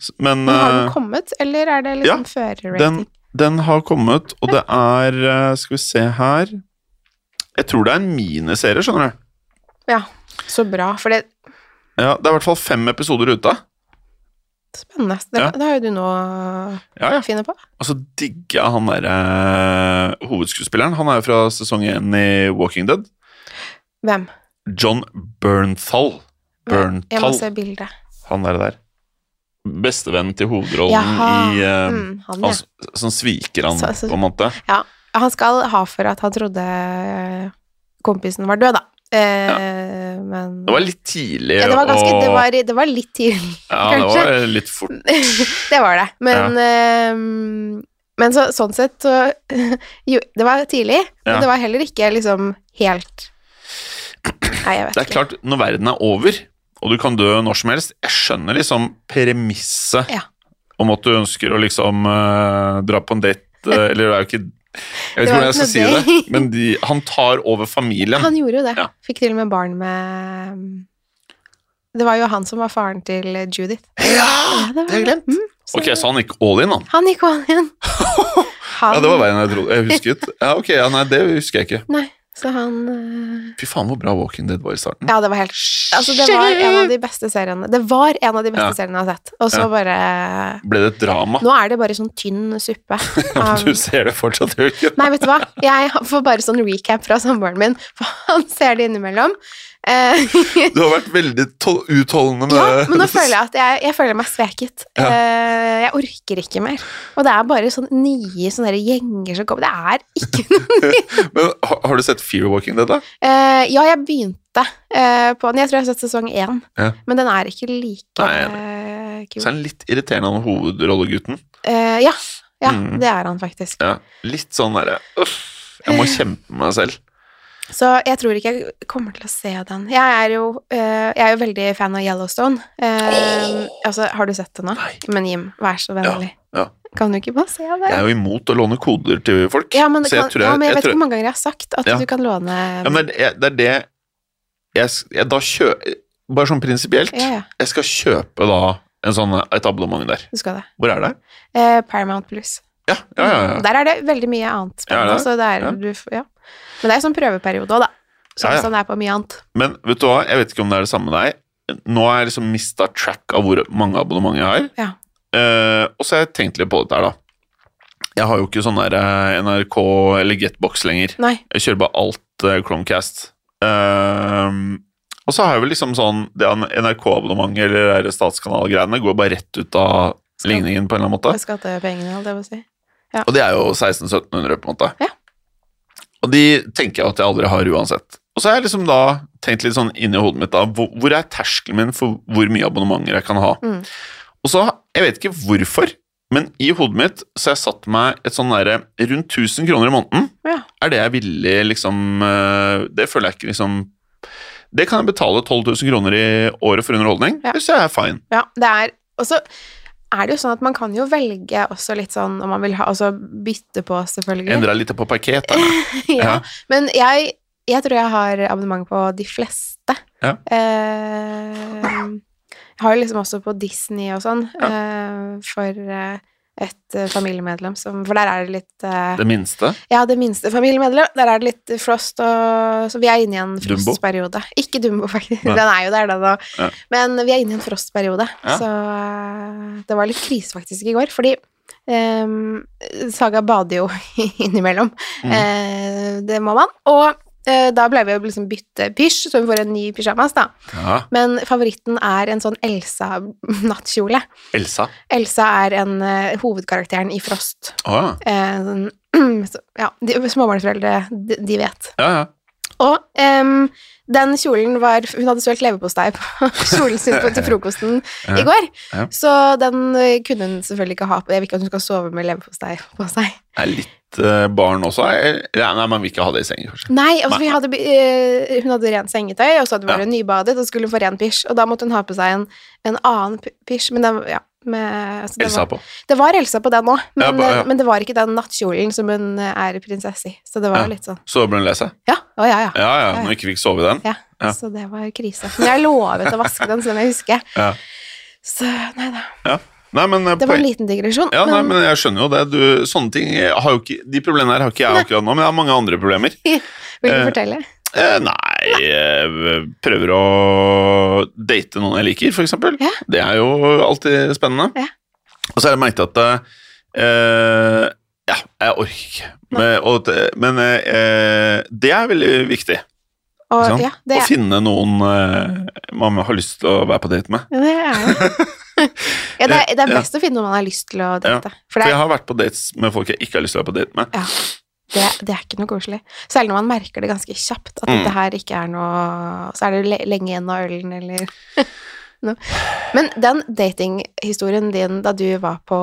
Speaker 1: S- Men,
Speaker 2: Men har den
Speaker 1: eh,
Speaker 2: kommet, eller er det liksom førerrating?
Speaker 1: den, den har kommet, og det er eh, Skal vi se her Jeg tror det er en miniserie, skjønner du.
Speaker 2: Ja, så bra, for det
Speaker 1: Ja, Det er i hvert fall fem episoder ute.
Speaker 2: Spennende. Det,
Speaker 1: Ja.
Speaker 2: det har jo du noe å
Speaker 1: Ja, ja.
Speaker 2: finne på.
Speaker 1: Og så digger jeg han derre eh, hovedskuespilleren. Han er jo fra sesong én i Walking Dead.
Speaker 2: Hvem?
Speaker 1: John Bernthal.
Speaker 2: Jeg må
Speaker 1: Bernthal.
Speaker 2: se bildet.
Speaker 1: Han der, der. Bestevennen til hovedrollen
Speaker 2: Jaha,
Speaker 1: i eh,
Speaker 2: mm, han,
Speaker 1: han, s- Som sviker han,
Speaker 2: Så- så-
Speaker 1: på en måte.
Speaker 2: ja. han skal ha for at han trodde eh, kompisen var død, da. Eh, Men
Speaker 1: Det var litt tidlig.
Speaker 2: ja, det, var ganske,
Speaker 1: og-
Speaker 2: det, var, det var litt tidlig. [LAUGHS]
Speaker 1: ja, det
Speaker 2: kanskje.
Speaker 1: var litt fort.
Speaker 2: det var det. Men, eh, men så, sånn sett så [LAUGHS] Jo, det var tidlig, men
Speaker 1: Ja.
Speaker 2: det var heller ikke liksom helt Nei, jeg vet
Speaker 1: Det er
Speaker 2: ikke.
Speaker 1: klart, når verden er over, og du kan dø når som helst Jeg skjønner liksom premisset
Speaker 2: Ja.
Speaker 1: om at du ønsker å liksom eh, dra på en
Speaker 2: [LAUGHS]
Speaker 1: date eh, Eller det er jo ikke Jeg vet
Speaker 2: Det
Speaker 1: ikke hvordan
Speaker 2: var
Speaker 1: jeg skal si
Speaker 2: ikke noe
Speaker 1: det, men de, han tar over familien.
Speaker 2: Han gjorde jo det.
Speaker 1: Ja.
Speaker 2: Fikk til og med barn med ehm, Det var jo han som var faren til Judith.
Speaker 1: ja!
Speaker 2: det
Speaker 1: Det har jeg glemt.
Speaker 2: Mm, så-
Speaker 1: Ok, så han gikk all in, han.
Speaker 2: Han gikk all in. Han,
Speaker 1: [LAUGHS] Ja, det var veien jeg trodde. Jeg husket. Ja, ok, ja, nei, det husker jeg ikke.
Speaker 2: Nei, så han eh,
Speaker 1: Fy faen hvor bra Walking Dead var i starten.
Speaker 2: Ja, det var helt Altså, det var en av de beste seriene Det var en av de beste
Speaker 1: Ja.
Speaker 2: seriene jeg har sett. Og så
Speaker 1: Ja.
Speaker 2: bare
Speaker 1: Ble det et drama?
Speaker 2: Nå er det bare sånn tynn suppe.
Speaker 1: [LAUGHS]
Speaker 2: av-
Speaker 1: Du ser det fortsatt, gjør du ikke?
Speaker 2: Nei, vet du hva? Jeg får bare sånn recap fra samboeren min, for han ser det innimellom. Eh, [LAUGHS]
Speaker 1: Du har vært veldig to- utholdende med
Speaker 2: Ja, men nå føler jeg at jeg, jeg føler meg sveket.
Speaker 1: Ja.
Speaker 2: Eh, jeg orker ikke mer. Og det er bare sånn nye sånne der gjenger som kommer. Det er ikke noe
Speaker 1: [LAUGHS] Men har, har du sett Fear Walking Dead, da?
Speaker 2: Eh, Ja, jeg begynte eh, på den. Jeg tror jeg har sett sesong én,
Speaker 1: Ja.
Speaker 2: men den er ikke like
Speaker 1: Nei, jeg Så
Speaker 2: eh, kul.
Speaker 1: er han litt irriterende, han hovedrollegutten.
Speaker 2: Eh, ja, ja
Speaker 1: Mm.
Speaker 2: det er han faktisk.
Speaker 1: Ja. Litt sånn derre Uff, jeg må kjempe med meg selv.
Speaker 2: Så jeg tror ikke jeg kommer til å se den. Jeg er jo, eh, jeg er jo veldig fan av Yellowstone. Eh, altså, har du sett det nå?
Speaker 1: Nei.
Speaker 2: Men Jim, vær så vennlig.
Speaker 1: ja.
Speaker 2: Kan du ikke bare se det?
Speaker 1: Jeg er jo imot å låne koder til folk.
Speaker 2: Ja, men, det
Speaker 1: så jeg
Speaker 2: kan,
Speaker 1: tror jeg,
Speaker 2: ja, men jeg,
Speaker 1: jeg
Speaker 2: vet
Speaker 1: tror-
Speaker 2: ikke hvor mange ganger jeg har sagt at
Speaker 1: Ja.
Speaker 2: du kan låne
Speaker 1: ja, men det, er- det er det jeg, s- jeg da kjø, Bare sånn prinsipielt.
Speaker 2: ja, ja,
Speaker 1: Jeg skal kjøpe da en sånn, et abonnement der.
Speaker 2: du skal det.
Speaker 1: Hvor er det?
Speaker 2: Eh, Paramount Plus.
Speaker 1: Ja, ja, ja. ja.
Speaker 2: Mm, Der er det veldig mye annet
Speaker 1: Ja, det er
Speaker 2: spennende.
Speaker 1: det.
Speaker 2: så det er,
Speaker 1: Ja.
Speaker 2: Du, f- ja. Men det er sånn prøveperiode òg, da. Sånn
Speaker 1: Ja, ja.
Speaker 2: som det er på mye annet.
Speaker 1: Men vet du hva, jeg vet ikke om det er det samme med deg. Nå har jeg liksom mista track av hvor mange abonnement jeg har.
Speaker 2: Ja.
Speaker 1: Eh, og så har jeg tenkt litt på dette her, da. Jeg har jo ikke sånn der eh, NRK eller Getbox lenger.
Speaker 2: Nei.
Speaker 1: Jeg kjører bare alt eh, Chromecast. Ehm, og så har jeg vel liksom sånn Det NRK-abonnementet eller det der statskanalgreiene går bare rett ut av ligningen på en eller annen måte.
Speaker 2: Jeg skal til pengene, holdt jeg på å si.
Speaker 1: Og det er jo 1600-1700 på en måte.
Speaker 2: Ja.
Speaker 1: Og de tenker jeg at jeg aldri har uansett. Og så har jeg liksom da tenkt litt sånn inni hodet mitt da, hvor, hvor er terskelen min for hvor mye abonnementer jeg kan ha?
Speaker 2: Mm.
Speaker 1: Og så, jeg vet ikke hvorfor, men i hodet mitt så har jeg satt meg et sånn derre rundt 1000 kroner i måneden.
Speaker 2: Ja.
Speaker 1: Er det jeg villig liksom eh, Det føler jeg ikke liksom Det kan jeg betale 12 000 kroner i året for underholdning.
Speaker 2: Ja.
Speaker 1: Det syns jeg er fine.
Speaker 2: Ja, det er Og så er det jo sånn at man kan jo velge også litt sånn om man vil ha Altså bytte på, selvfølgelig.
Speaker 1: Endra litt på parkett. da.
Speaker 2: [LAUGHS] ja.
Speaker 1: Ja.
Speaker 2: Men jeg, jeg tror jeg har abonnement på de fleste.
Speaker 1: Ja.
Speaker 2: Eh, jeg har jo liksom også på Disney og sånn,
Speaker 1: Ja.
Speaker 2: eh, for eh, et eh, familiemedlem som For der er det litt eh,
Speaker 1: Det minste.
Speaker 2: Ja, det minste familiemedlem. Der er det litt frost, og, så vi er inne i en
Speaker 1: Dumbo?
Speaker 2: frostperiode. Ikke Dumbo, faktisk.
Speaker 1: Nei.
Speaker 2: Den er jo der, den òg.
Speaker 1: Ja.
Speaker 2: Men vi er inne i en frostperiode,
Speaker 1: Ja.
Speaker 2: så eh, det var litt krise faktisk i går. Fordi eh, Saga bader jo [LAUGHS] innimellom.
Speaker 1: Mm.
Speaker 2: Eh, det må man. Og eh, da ble vi jo liksom bytte pysj, så vi får en ny pysjamas, da.
Speaker 1: Ja.
Speaker 2: Men favoritten er en sånn Elsa-nattkjole.
Speaker 1: Elsa.
Speaker 2: Elsa er en eh, hovedkarakteren i Frost.
Speaker 1: Å ja.
Speaker 2: Eh, sånn, [CLEARS THROAT] så, ja, de, småbarnsforeldre, de, de vet.
Speaker 1: Ja, ja.
Speaker 2: Og em, den kjolen var Hun hadde svelt leverpostei på [LAUGHS] kjolen sin på, til frokosten
Speaker 1: Ja,
Speaker 2: i går.
Speaker 1: ja.
Speaker 2: Så den eh, kunne hun selvfølgelig ikke ha på. Jeg vil ikke at hun skal sove med leverpostei på seg.
Speaker 1: er litt eh, barn også. er- Ja, nei, man vil ikke ha det i sengen, kanskje.
Speaker 2: Nei, altså,
Speaker 1: Nei.
Speaker 2: vi hadde, eh, hun hadde rent sengetøy, og så hadde hun
Speaker 1: Ja.
Speaker 2: vært nybadet, og skulle hun få ren pysj. Og da måtte hun ha på seg en, en annen p- pysj. Men den, ja, med, så det,
Speaker 1: Elsa
Speaker 2: var,
Speaker 1: på.
Speaker 2: det var Elsa på den òg, men,
Speaker 1: Ja, ba- ja.
Speaker 2: eh, men det var ikke den nattkjolen som hun eh, er prinsesse i. Så det var
Speaker 1: Ja.
Speaker 2: litt sånn
Speaker 1: Så ble hun lei seg.
Speaker 2: Ja, å ja, ja.
Speaker 1: Ja, ja, når hun ikke fikk sove i den.
Speaker 2: Ja,
Speaker 1: Ja.
Speaker 2: så det var krise. Men jeg lovet å vaske den, som jeg husker.
Speaker 1: Ja.
Speaker 2: Så nei da.
Speaker 1: Nei, men, eh,
Speaker 2: Det var sånn- en
Speaker 1: poen-
Speaker 2: liten digresjon.
Speaker 1: ja, nei, men jeg skjønner jo det. Du, sånne ting har jo ikke De problemene her har ikke jeg akkurat nå, men jeg har mange andre problemer.
Speaker 2: vil du
Speaker 1: eh,
Speaker 2: fortelle?
Speaker 1: Eh, nei eh, Prøver å date noen jeg liker, for eksempel.
Speaker 2: Ja.
Speaker 1: Det er jo alltid spennende.
Speaker 2: Ja.
Speaker 1: Og så har jeg merket at eh, Ja, jeg orker ikke. Men, og, det- men eh, det er veldig viktig.
Speaker 2: Og,
Speaker 1: sant?
Speaker 2: ja, det,
Speaker 1: Å finne noen eh, man har lyst til å være på date med.
Speaker 2: ja, det er [LAUGHS] det. ja, det, er, det
Speaker 1: [LAUGHS]
Speaker 2: er
Speaker 1: Ja.
Speaker 2: best å finne noe man har lyst til å date. For
Speaker 1: For
Speaker 2: det
Speaker 1: jeg
Speaker 2: er,
Speaker 1: har vært på dates med folk jeg ikke har lyst til å være på date med.
Speaker 2: det, det er ikke noe koselig. Særlig når man merker det ganske kjapt, at
Speaker 1: Mm.
Speaker 2: dette her ikke er noe Så er det le lenge igjen av ølen, eller [LAUGHS] noe. Men den datinghistorien din da du var på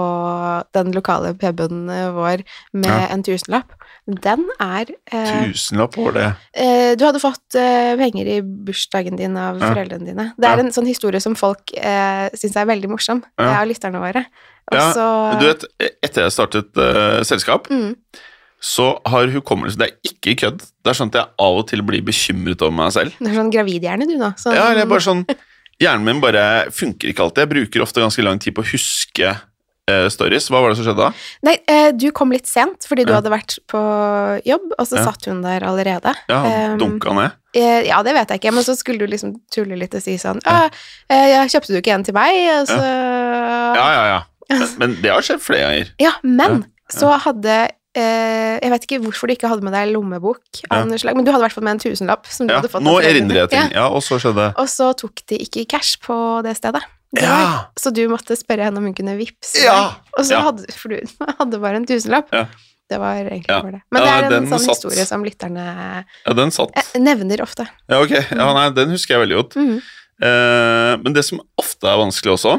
Speaker 2: den lokale puben vår med
Speaker 1: Ja.
Speaker 2: en tusenlapp, den er eh,
Speaker 1: Tusenlapp var det.
Speaker 2: Eh, Du hadde fått eh, penger i bursdagen din av
Speaker 1: Ja.
Speaker 2: foreldrene dine. Det er
Speaker 1: Ja.
Speaker 2: en sånn historie som folk eh, syns er veldig morsom,
Speaker 1: Ja.
Speaker 2: ja. av lytterne våre. Og
Speaker 1: Ja,
Speaker 2: så
Speaker 1: Du vet, etter jeg startet eh, selskap,
Speaker 2: mm,
Speaker 1: så har hukommelse Det er ikke kødd. Det er sånn at jeg av og til blir bekymret over meg selv.
Speaker 2: Du er sånn gravidhjerne, du, nå. Sånn,
Speaker 1: Ja, eller bare
Speaker 2: [LAUGHS]
Speaker 1: sånn Hjernen min bare funker ikke alltid. Jeg bruker ofte ganske lang tid på å huske eh, stories. Hva var det som skjedde da?
Speaker 2: Nei, eh, du kom litt sent fordi du
Speaker 1: Ja.
Speaker 2: hadde vært på jobb, og så
Speaker 1: Ja.
Speaker 2: satt hun der allerede.
Speaker 1: Ja,
Speaker 2: Um,
Speaker 1: han dunka ned.
Speaker 2: Eh, ja, det vet jeg ikke, men så skulle du liksom tulle litt og si sånn
Speaker 1: Ja.
Speaker 2: «Å, eh, ja, Kjøpte du ikke en til meg? Og så
Speaker 1: Ja, ja, ja. Men, men det har skjedd flere ganger.
Speaker 2: Ja, men
Speaker 1: ja.
Speaker 2: så hadde eh, Jeg vet ikke hvorfor du ikke hadde med deg lommebok, av
Speaker 1: Ja.
Speaker 2: noe slag, men du hadde i hvert fall med en tusenlapp. Som du
Speaker 1: Ja,
Speaker 2: hadde fått av
Speaker 1: nå
Speaker 2: foreldrene.
Speaker 1: erindrer jeg ting.
Speaker 2: Ja.
Speaker 1: Ja, og så skjedde
Speaker 2: Og så tok de ikke cash på det stedet. Det
Speaker 1: Ja!
Speaker 2: var- Så du måtte spørre henne om hun kunne vippse.
Speaker 1: Ja!
Speaker 2: deg. Og så
Speaker 1: Ja.
Speaker 2: hadde, for du hadde bare en tusenlapp.
Speaker 1: Ja.
Speaker 2: Det var egentlig
Speaker 1: Ja.
Speaker 2: bare det. Men
Speaker 1: Ja,
Speaker 2: det er en
Speaker 1: den
Speaker 2: sånn
Speaker 1: satt.
Speaker 2: historie som lytterne
Speaker 1: ja den satt.
Speaker 2: eh, nevner ofte.
Speaker 1: Ja, ok. Ja,
Speaker 2: Mm.
Speaker 1: nei, den husker jeg veldig godt.
Speaker 2: Mhm.
Speaker 1: Eh, men det som ofte er vanskelig også,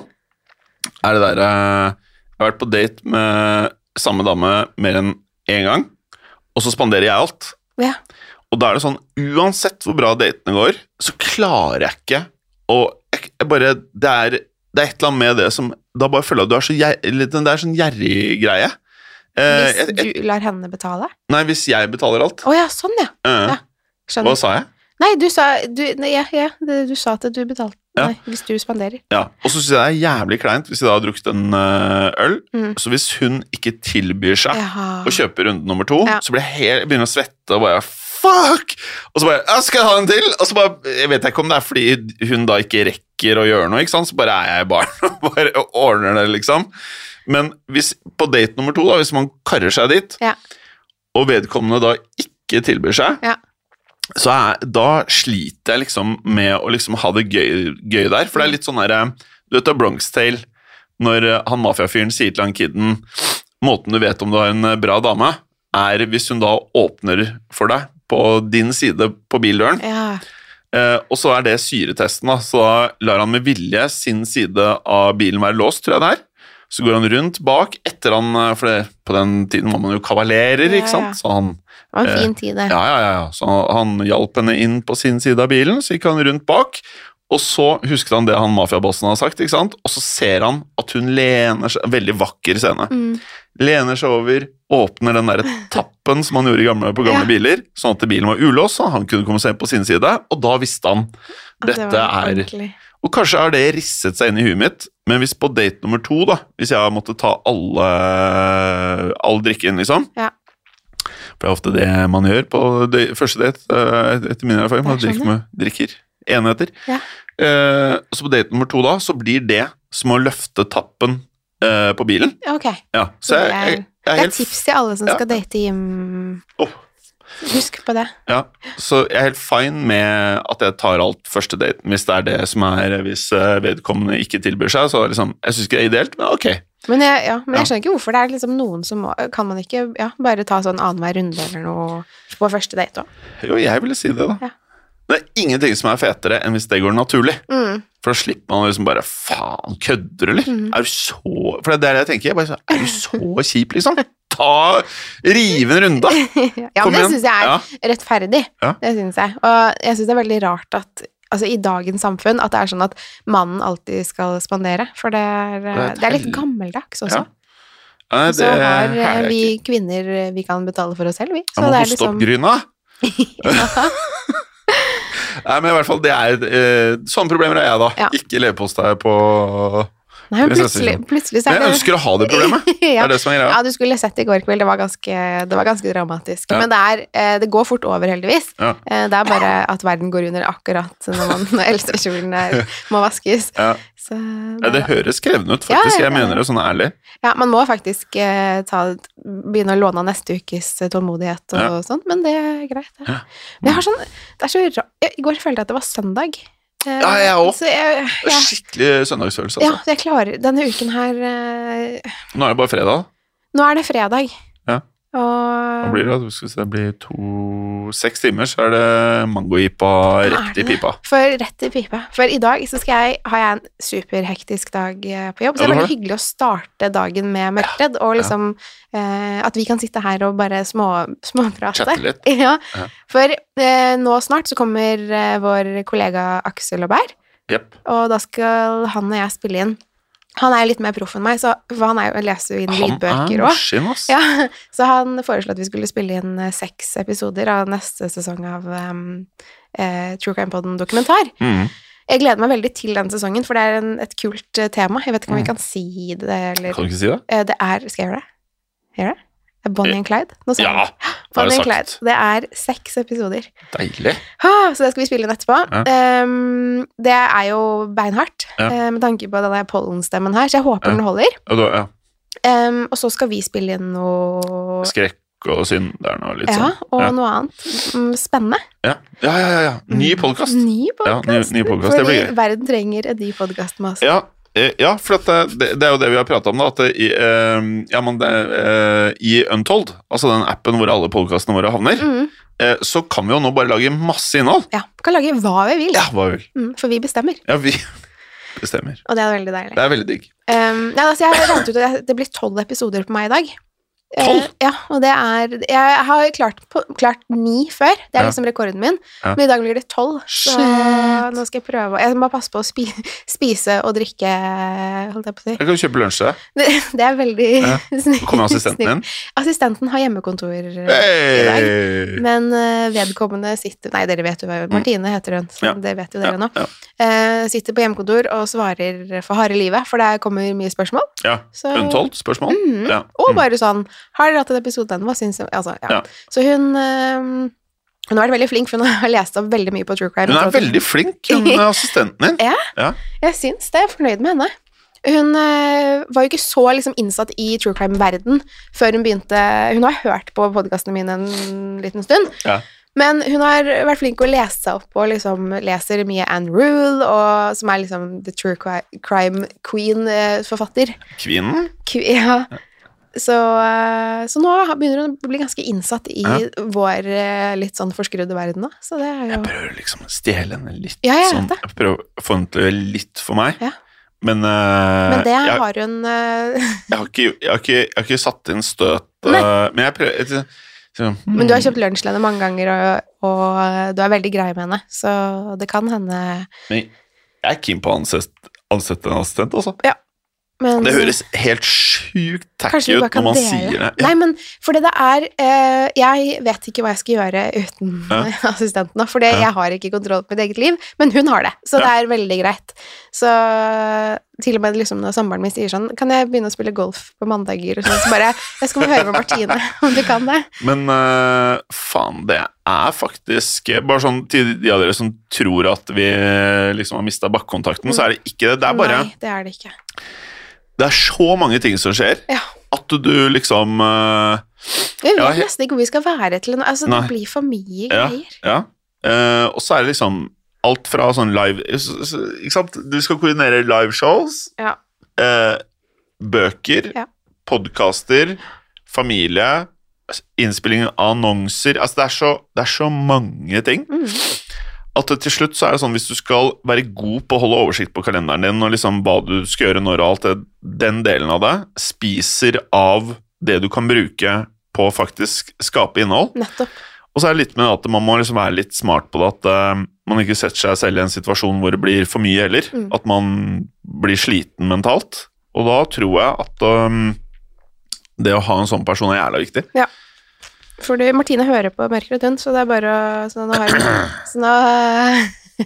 Speaker 1: er det der eh, Jeg har vært på date med samme dame mer enn én gang, og så spanderer jeg alt.
Speaker 2: Ja.
Speaker 1: Og da er det sånn, uansett hvor bra datene går, så klarer jeg ikke å jeg, jeg bare, det, er, det er et eller annet med det som Da bare føler jeg at du er så gjer- eller den der sånn gjerrig greie. Eh,
Speaker 2: Hvis
Speaker 1: jeg- jeg-
Speaker 2: du lar henne betale.
Speaker 1: nei, hvis jeg betaler alt.
Speaker 2: Å ja, sånn ja.
Speaker 1: Eh,
Speaker 2: ja,
Speaker 1: hva
Speaker 2: Skjønner.
Speaker 1: sa jeg?
Speaker 2: Nei, du sa, du, nei, ja, ja, det- du sa at du betalte.
Speaker 1: Ja.
Speaker 2: Nei, hvis du spanderer.
Speaker 1: Ja, Og så syns jeg det er jævlig kleint hvis jeg da har drukket en eh, øl.
Speaker 2: Mm.
Speaker 1: Så hvis hun ikke tilbyr seg
Speaker 2: Jaha.
Speaker 1: å kjøpe runde nummer to,
Speaker 2: Ja.
Speaker 1: så blir jeg helt, jeg begynner jeg å svette og bare Fuck! Og så bare «Ja, Skal jeg ha en til? Og så bare Jeg vet ikke om det er [LAUGHS] fordi hun da ikke rekker å gjøre noe, ikke sant? så bare er jeg i baren og bare ordner det, liksom. Men hvis, på date nummer to, da, hvis man karrer seg dit,
Speaker 2: Ja.
Speaker 1: og vedkommende da ikke tilbyr seg,
Speaker 2: Ja.
Speaker 1: så er, da sliter jeg liksom med å liksom ha det gøy, gøy der. For det er litt sånn derre Du vet det er Bronx Tale, når eh, han mafiafyren sier til han kiden Måten du vet om du har en eh, bra dame, er hvis hun da åpner for deg på din side på bildøren.
Speaker 2: ja.
Speaker 1: Eh, og så er det syretesten, da. Så da lar han med vilje sin side av bilen være låst, tror jeg det er. Så går han rundt bak etter han eh, For det, på den tiden var man jo kavalerer,
Speaker 2: Ja,
Speaker 1: ikke sant.
Speaker 2: ja.
Speaker 1: Så han,
Speaker 2: Det var en
Speaker 1: Eh,
Speaker 2: fin tid, det.
Speaker 1: ja, ja, ja, ja. Så han hjalp henne inn på sin side av bilen, så gikk han rundt bak. Og så husket han det han mafiabossen hadde sagt, ikke sant? og så ser han at hun lener seg Veldig vakker scene.
Speaker 2: Mm.
Speaker 1: Lener seg over, åpner den der tappen som han gjorde i gamle, på gamle
Speaker 2: Ja.
Speaker 1: biler, sånn at bilen var ulåst, så han kunne komme seg inn på sin side, og da visste han
Speaker 2: At det
Speaker 1: dette
Speaker 2: var
Speaker 1: er
Speaker 2: ordentlig.
Speaker 1: Og kanskje har det risset seg inn i huet mitt, men hvis på date nummer to, da, hvis jeg har måttet ta alle, all drikken, liksom
Speaker 2: Ja.
Speaker 1: For det er ofte det man gjør på de, første date, eh, etter min erfaring. Man
Speaker 2: Jeg
Speaker 1: drikker, med, drikker enheter.
Speaker 2: Ja.
Speaker 1: Eh, så på date nummer to, da, så blir det som å løfte tappen eh, på bilen.
Speaker 2: Ok.
Speaker 1: Ja, så jeg, jeg, jeg er
Speaker 2: Det er
Speaker 1: helt
Speaker 2: tips til alle som
Speaker 1: Ja.
Speaker 2: skal date Jim.
Speaker 1: Åh.
Speaker 2: Husk på det.
Speaker 1: Ja, så jeg er helt fine med at jeg tar alt første daten, hvis det er det som er Hvis eh, vedkommende ikke tilbyr seg, så er det liksom Jeg syns ikke det er ideelt, men ok.
Speaker 2: Men jeg, ja, men
Speaker 1: Ja.
Speaker 2: jeg skjønner ikke hvorfor det er liksom noen som må, Kan man ikke ja, bare ta sånn annenhver runde eller noe på første date òg?
Speaker 1: Jo, jeg ville si det, da.
Speaker 2: Ja.
Speaker 1: Det er ingenting som er fetere enn hvis det går naturlig.
Speaker 2: Mm.
Speaker 1: For da slipper man liksom bare Faen, kødder du, eller? Er du så For det er det jeg tenker. Jeg bare sånn Er du så kjip, liksom? Ta Rive en runde, da!
Speaker 2: [LAUGHS] Ja,
Speaker 1: Kom
Speaker 2: men det
Speaker 1: igjen.
Speaker 2: syns jeg er
Speaker 1: Ja.
Speaker 2: rettferdig.
Speaker 1: Ja.
Speaker 2: Det syns jeg. Og jeg syns det er veldig rart at Altså i dagens samfunn at det er sånn at mannen alltid skal spandere. For det er, det
Speaker 1: er
Speaker 2: er,
Speaker 1: et
Speaker 2: litt
Speaker 1: hel-
Speaker 2: gammeldags også.
Speaker 1: Ja. Nei,
Speaker 2: Og så har eh,
Speaker 1: er jeg
Speaker 2: vi
Speaker 1: ikke.
Speaker 2: kvinner eh, Vi kan betale for oss selv, vi.
Speaker 1: Jeg
Speaker 2: Så
Speaker 1: må
Speaker 2: det er
Speaker 1: hoste opp
Speaker 2: liksom
Speaker 1: gryna.
Speaker 2: ja.
Speaker 1: Nei, men i hvert fall, det er eh, Sånne problemer har jeg, da.
Speaker 2: Ja.
Speaker 1: Ikke leverpostei på
Speaker 2: [LAUGHS] Nei, men
Speaker 1: Det synes jeg
Speaker 2: plutselig,
Speaker 1: ikke
Speaker 2: plutselig så
Speaker 1: Men
Speaker 2: er
Speaker 1: jeg ønsker å ha det problemet.
Speaker 2: det
Speaker 1: Det
Speaker 2: [LAUGHS] ja.
Speaker 1: er det som er greia.
Speaker 2: ja, du skulle sett det i går kveld. Det var ganske, det var ganske dramatisk.
Speaker 1: Ja.
Speaker 2: Men det, er, eh, det går fort over, heldigvis.
Speaker 1: Ja.
Speaker 2: Eh, Det er bare at verden går under akkurat når man
Speaker 1: [LAUGHS]
Speaker 2: [LAUGHS] når elstakjolen er- må vaskes.
Speaker 1: Ja.
Speaker 2: Så
Speaker 1: Ja, det
Speaker 2: det,
Speaker 1: høres krevende ut,
Speaker 2: Ja,
Speaker 1: faktisk. Jeg
Speaker 2: ja, ja.
Speaker 1: mener det sånn ærlig.
Speaker 2: ja, man må faktisk eh, ta, begynne å låne av neste ukes tålmodighet og,
Speaker 1: Ja.
Speaker 2: sånn, men det er greit. Det.
Speaker 1: Ja.
Speaker 2: Men jeg har sånn, det er så ra- jeg- I går følte jeg at det var søndag. Eh,
Speaker 1: Ja, jeg også.
Speaker 2: Så jeg,
Speaker 1: Det er
Speaker 2: jeg,
Speaker 1: Skikkelig søndagsfølelse,
Speaker 2: ja,
Speaker 1: altså.
Speaker 2: jeg klarer Denne uken her eh,
Speaker 1: Nå er det bare fredag.
Speaker 2: Nå er det fredag.
Speaker 1: Ja. Hva
Speaker 2: Og
Speaker 1: blir det? da? Skal vi se, det blir to Seks timer, så er det mangojipa rett
Speaker 2: Er
Speaker 1: i
Speaker 2: det det?
Speaker 1: pipa.
Speaker 2: for rett i pipa. For i dag så skal jeg, har jeg en superhektisk dag eh, på
Speaker 1: Ja,
Speaker 2: jobb, så det
Speaker 1: du
Speaker 2: er
Speaker 1: har
Speaker 2: veldig hyggelig å starte dagen med mørkredd, og liksom eh, at vi kan sitte her og bare små, småprate.
Speaker 1: Chatte litt.
Speaker 2: [LAUGHS] Ja,
Speaker 1: Ja.
Speaker 2: for eh, nå snart så kommer eh, vår kollega Aksel Aubert,
Speaker 1: Jepp.
Speaker 2: og da skal han og jeg spille inn. Han er jo litt mer proff enn meg, så, for han er jo, leser jo inn
Speaker 1: Han er
Speaker 2: lydbøker òg.
Speaker 1: maskin, ass.
Speaker 2: Ja, så han foreslo at vi skulle spille inn eh, seks episoder av neste sesong av em, eh, True Crime Podden dokumentar.
Speaker 1: Mm.
Speaker 2: Jeg gleder meg veldig til den sesongen, for det er en, et kult eh, tema. Jeg vet ikke om
Speaker 1: Mm.
Speaker 2: vi kan si det, eller
Speaker 1: Kan du ikke si det?
Speaker 2: Eh, Det er Skal jeg gjøre det? Gjør jeg det? Det er Bonnie and Clyde. Nå sa jeg
Speaker 1: Ja,
Speaker 2: det.
Speaker 1: det har
Speaker 2: Bonnie
Speaker 1: du
Speaker 2: and Clyde.
Speaker 1: sagt.
Speaker 2: Det er seks episoder.
Speaker 1: Deilig.
Speaker 2: Ah, så det skal vi spille inn etterpå.
Speaker 1: Ja.
Speaker 2: Em, det er jo beinhardt,
Speaker 1: Ja.
Speaker 2: eh, med tanke på denne pollenstemmen her, så jeg håper
Speaker 1: Ja.
Speaker 2: den holder.
Speaker 1: Ja, du- ja.
Speaker 2: Em, og så skal vi spille inn noe
Speaker 1: Skrekk og synd, det er noe litt
Speaker 2: ja,
Speaker 1: sånn.
Speaker 2: og
Speaker 1: Ja.
Speaker 2: noe annet. Mm, Spennende.
Speaker 1: Ja, ja, ja. ja, ja. Ny podkast.
Speaker 2: Mm. Ny
Speaker 1: Ja, ny,
Speaker 2: podkast.
Speaker 1: ny podcast. Det
Speaker 2: Fordi
Speaker 1: blir gøy.
Speaker 2: verden trenger en ny podkast med oss.
Speaker 1: Ja, eh, ja for at det, det, det er jo det vi har prata om, da. At det, i, eh, ja, men det, eh, i Untold, altså den appen hvor alle podkastene våre havner,
Speaker 2: Mm,
Speaker 1: eh, så kan vi jo nå bare lage masse innhold.
Speaker 2: ja. Vi kan lage hva vi vil,
Speaker 1: Ja, hva vi vil.
Speaker 2: mm, for vi bestemmer.
Speaker 1: Ja, vi [LAUGHS] bestemmer.
Speaker 2: Og det er veldig deilig.
Speaker 1: Det er veldig digg.
Speaker 2: Um, ja, altså jeg har regnet ut at jeg- det blir tolv episoder på meg i dag. Eh,
Speaker 1: Tolv?
Speaker 2: ja, og det er Jeg har klart, på, klart ni før. Det er
Speaker 1: Ja.
Speaker 2: liksom rekorden min.
Speaker 1: Ja.
Speaker 2: Men i dag blir det tolv. Så
Speaker 1: Shit.
Speaker 2: nå skal jeg prøve å Jeg må bare passe på å spi, spise og drikke, holdt jeg på å si. [LAUGHS]
Speaker 1: Jeg kan kjøpe lunsj til deg.
Speaker 2: Det, det er veldig
Speaker 1: Ja.
Speaker 2: [LAUGHS] snilt.
Speaker 1: Kommer assistenten din?
Speaker 2: Assistenten har hjemmekontor. eh,
Speaker 1: Hey!
Speaker 2: Men eh, vedkommende sitter Nei, dere vet jo hva Martine heter hun.
Speaker 1: Mm.
Speaker 2: Så
Speaker 1: Ja.
Speaker 2: Det vet jo
Speaker 1: Ja,
Speaker 2: dere nå.
Speaker 1: ja.
Speaker 2: Eh, sitter på hjemmekontor og svarer for harde livet, for det kommer mye spørsmål.
Speaker 1: Ja.
Speaker 2: Så,
Speaker 1: Unntolt spørsmål?
Speaker 2: Mhm.
Speaker 1: Ja. Mm.
Speaker 2: Og bare sånn Har dere hatt en episode den? Hva syns dere? Altså, ja.
Speaker 1: Ja.
Speaker 2: Så hun eh, Hun har vært veldig flink, for hun har [LAUGHS] lest opp veldig mye på True Crime.
Speaker 1: Mm. Hun er
Speaker 2: Så- [LAUGHS]
Speaker 1: veldig flink, hun assistenten din.
Speaker 2: Jeg syns det. Jeg er fornøyd med henne. Hun eh, var jo ikke så liksom, innsatt i true crime-verden før hun begynte Hun har hørt på podkastene mine en liten stund,
Speaker 1: Ja.
Speaker 2: men hun har vært flink til å lese seg opp og liksom, leser mye Anne Rule, og, som er liksom the true cri- crime eh, queen-forfatter.
Speaker 1: Kvinnen?
Speaker 2: [LAUGHS] Ja. Så, eh, så nå har- begynner hun å bli ganske innsatt i
Speaker 1: Ja.
Speaker 2: vår eh, litt sånn forskrudde verden, da. Så det er jo
Speaker 1: Jeg prøver liksom å stjele henne litt.
Speaker 2: Ja, jeg vet
Speaker 1: sånn,
Speaker 2: det.
Speaker 1: jeg prøver å få henne til å gjøre litt for meg.
Speaker 2: Ja.
Speaker 1: Men, eh,
Speaker 2: Men det
Speaker 1: jeg,
Speaker 2: har hun eh, [LAUGHS]
Speaker 1: jeg, har ikke, jeg, har ikke, jeg har ikke satt inn støt. eh, men jeg prøver jeg- så- hmm.
Speaker 2: Men du har kjøpt lunsj til henne mange ganger, og, og du er veldig grei med henne, så det kan hende
Speaker 1: Men Jeg er keen på å ansette, ansette en assistent, altså.
Speaker 2: men,
Speaker 1: Det høres helt sjukt tacky
Speaker 2: Kanskje vi
Speaker 1: ut
Speaker 2: bare
Speaker 1: når
Speaker 2: kan
Speaker 1: man
Speaker 2: dele?
Speaker 1: sier det. Ja.
Speaker 2: Nei, men fordi det er eh, Jeg vet ikke hva jeg skal gjøre uten
Speaker 1: Ja.
Speaker 2: [LAUGHS] assistenten nå, fordi
Speaker 1: Ja.
Speaker 2: jeg har ikke kontroll på mitt eget liv, men hun har det, så det er veldig greit. Så til og med liksom når samboeren min sier sånn Kan jeg begynne å spille golf på mandager? Og sånn, så bare Jeg skal bare høre med Martine [LAUGHS] om du kan det.
Speaker 1: Men eh, faen, det er faktisk Bare sånn til de av dere som tror at vi liksom har mista bakkekontakten, så er det ikke det. Det er bare
Speaker 2: Nei, det er det ikke.
Speaker 1: Det er så mange ting som skjer,
Speaker 2: Ja.
Speaker 1: at du liksom eh,
Speaker 2: Jeg vet
Speaker 1: Ja, he-
Speaker 2: nesten ikke hvor vi skal være til nå. Altså,
Speaker 1: Nei.
Speaker 2: det blir for mye
Speaker 1: Ja.
Speaker 2: greier.
Speaker 1: Ja. Eh, og så er det liksom alt fra sånn live s- s- Ikke sant? Du skal koordinere liveshows,
Speaker 2: Ja.
Speaker 1: eh, bøker,
Speaker 2: Ja.
Speaker 1: podkaster, familie, s- innspilling av annonser Altså, det er så, det er så mange ting
Speaker 2: Mm.
Speaker 1: at til slutt så er det sånn hvis du skal være god på å holde oversikt på kalenderen din og liksom hva du skal gjøre når og alt det, den delen av det spiser av det du kan bruke på å faktisk skape innhold.
Speaker 2: Nettopp.
Speaker 1: Og så er det litt med at man må liksom være litt smart på det, at eh, man ikke setter seg selv i en situasjon hvor det blir for mye heller.
Speaker 2: Mm.
Speaker 1: At man blir sliten mentalt. Og da tror jeg at eh, det å ha en sånn person er jævla viktig.
Speaker 2: For du, Martine hører på Mørkredd hund, så det er bare å Så nå har hun Så nå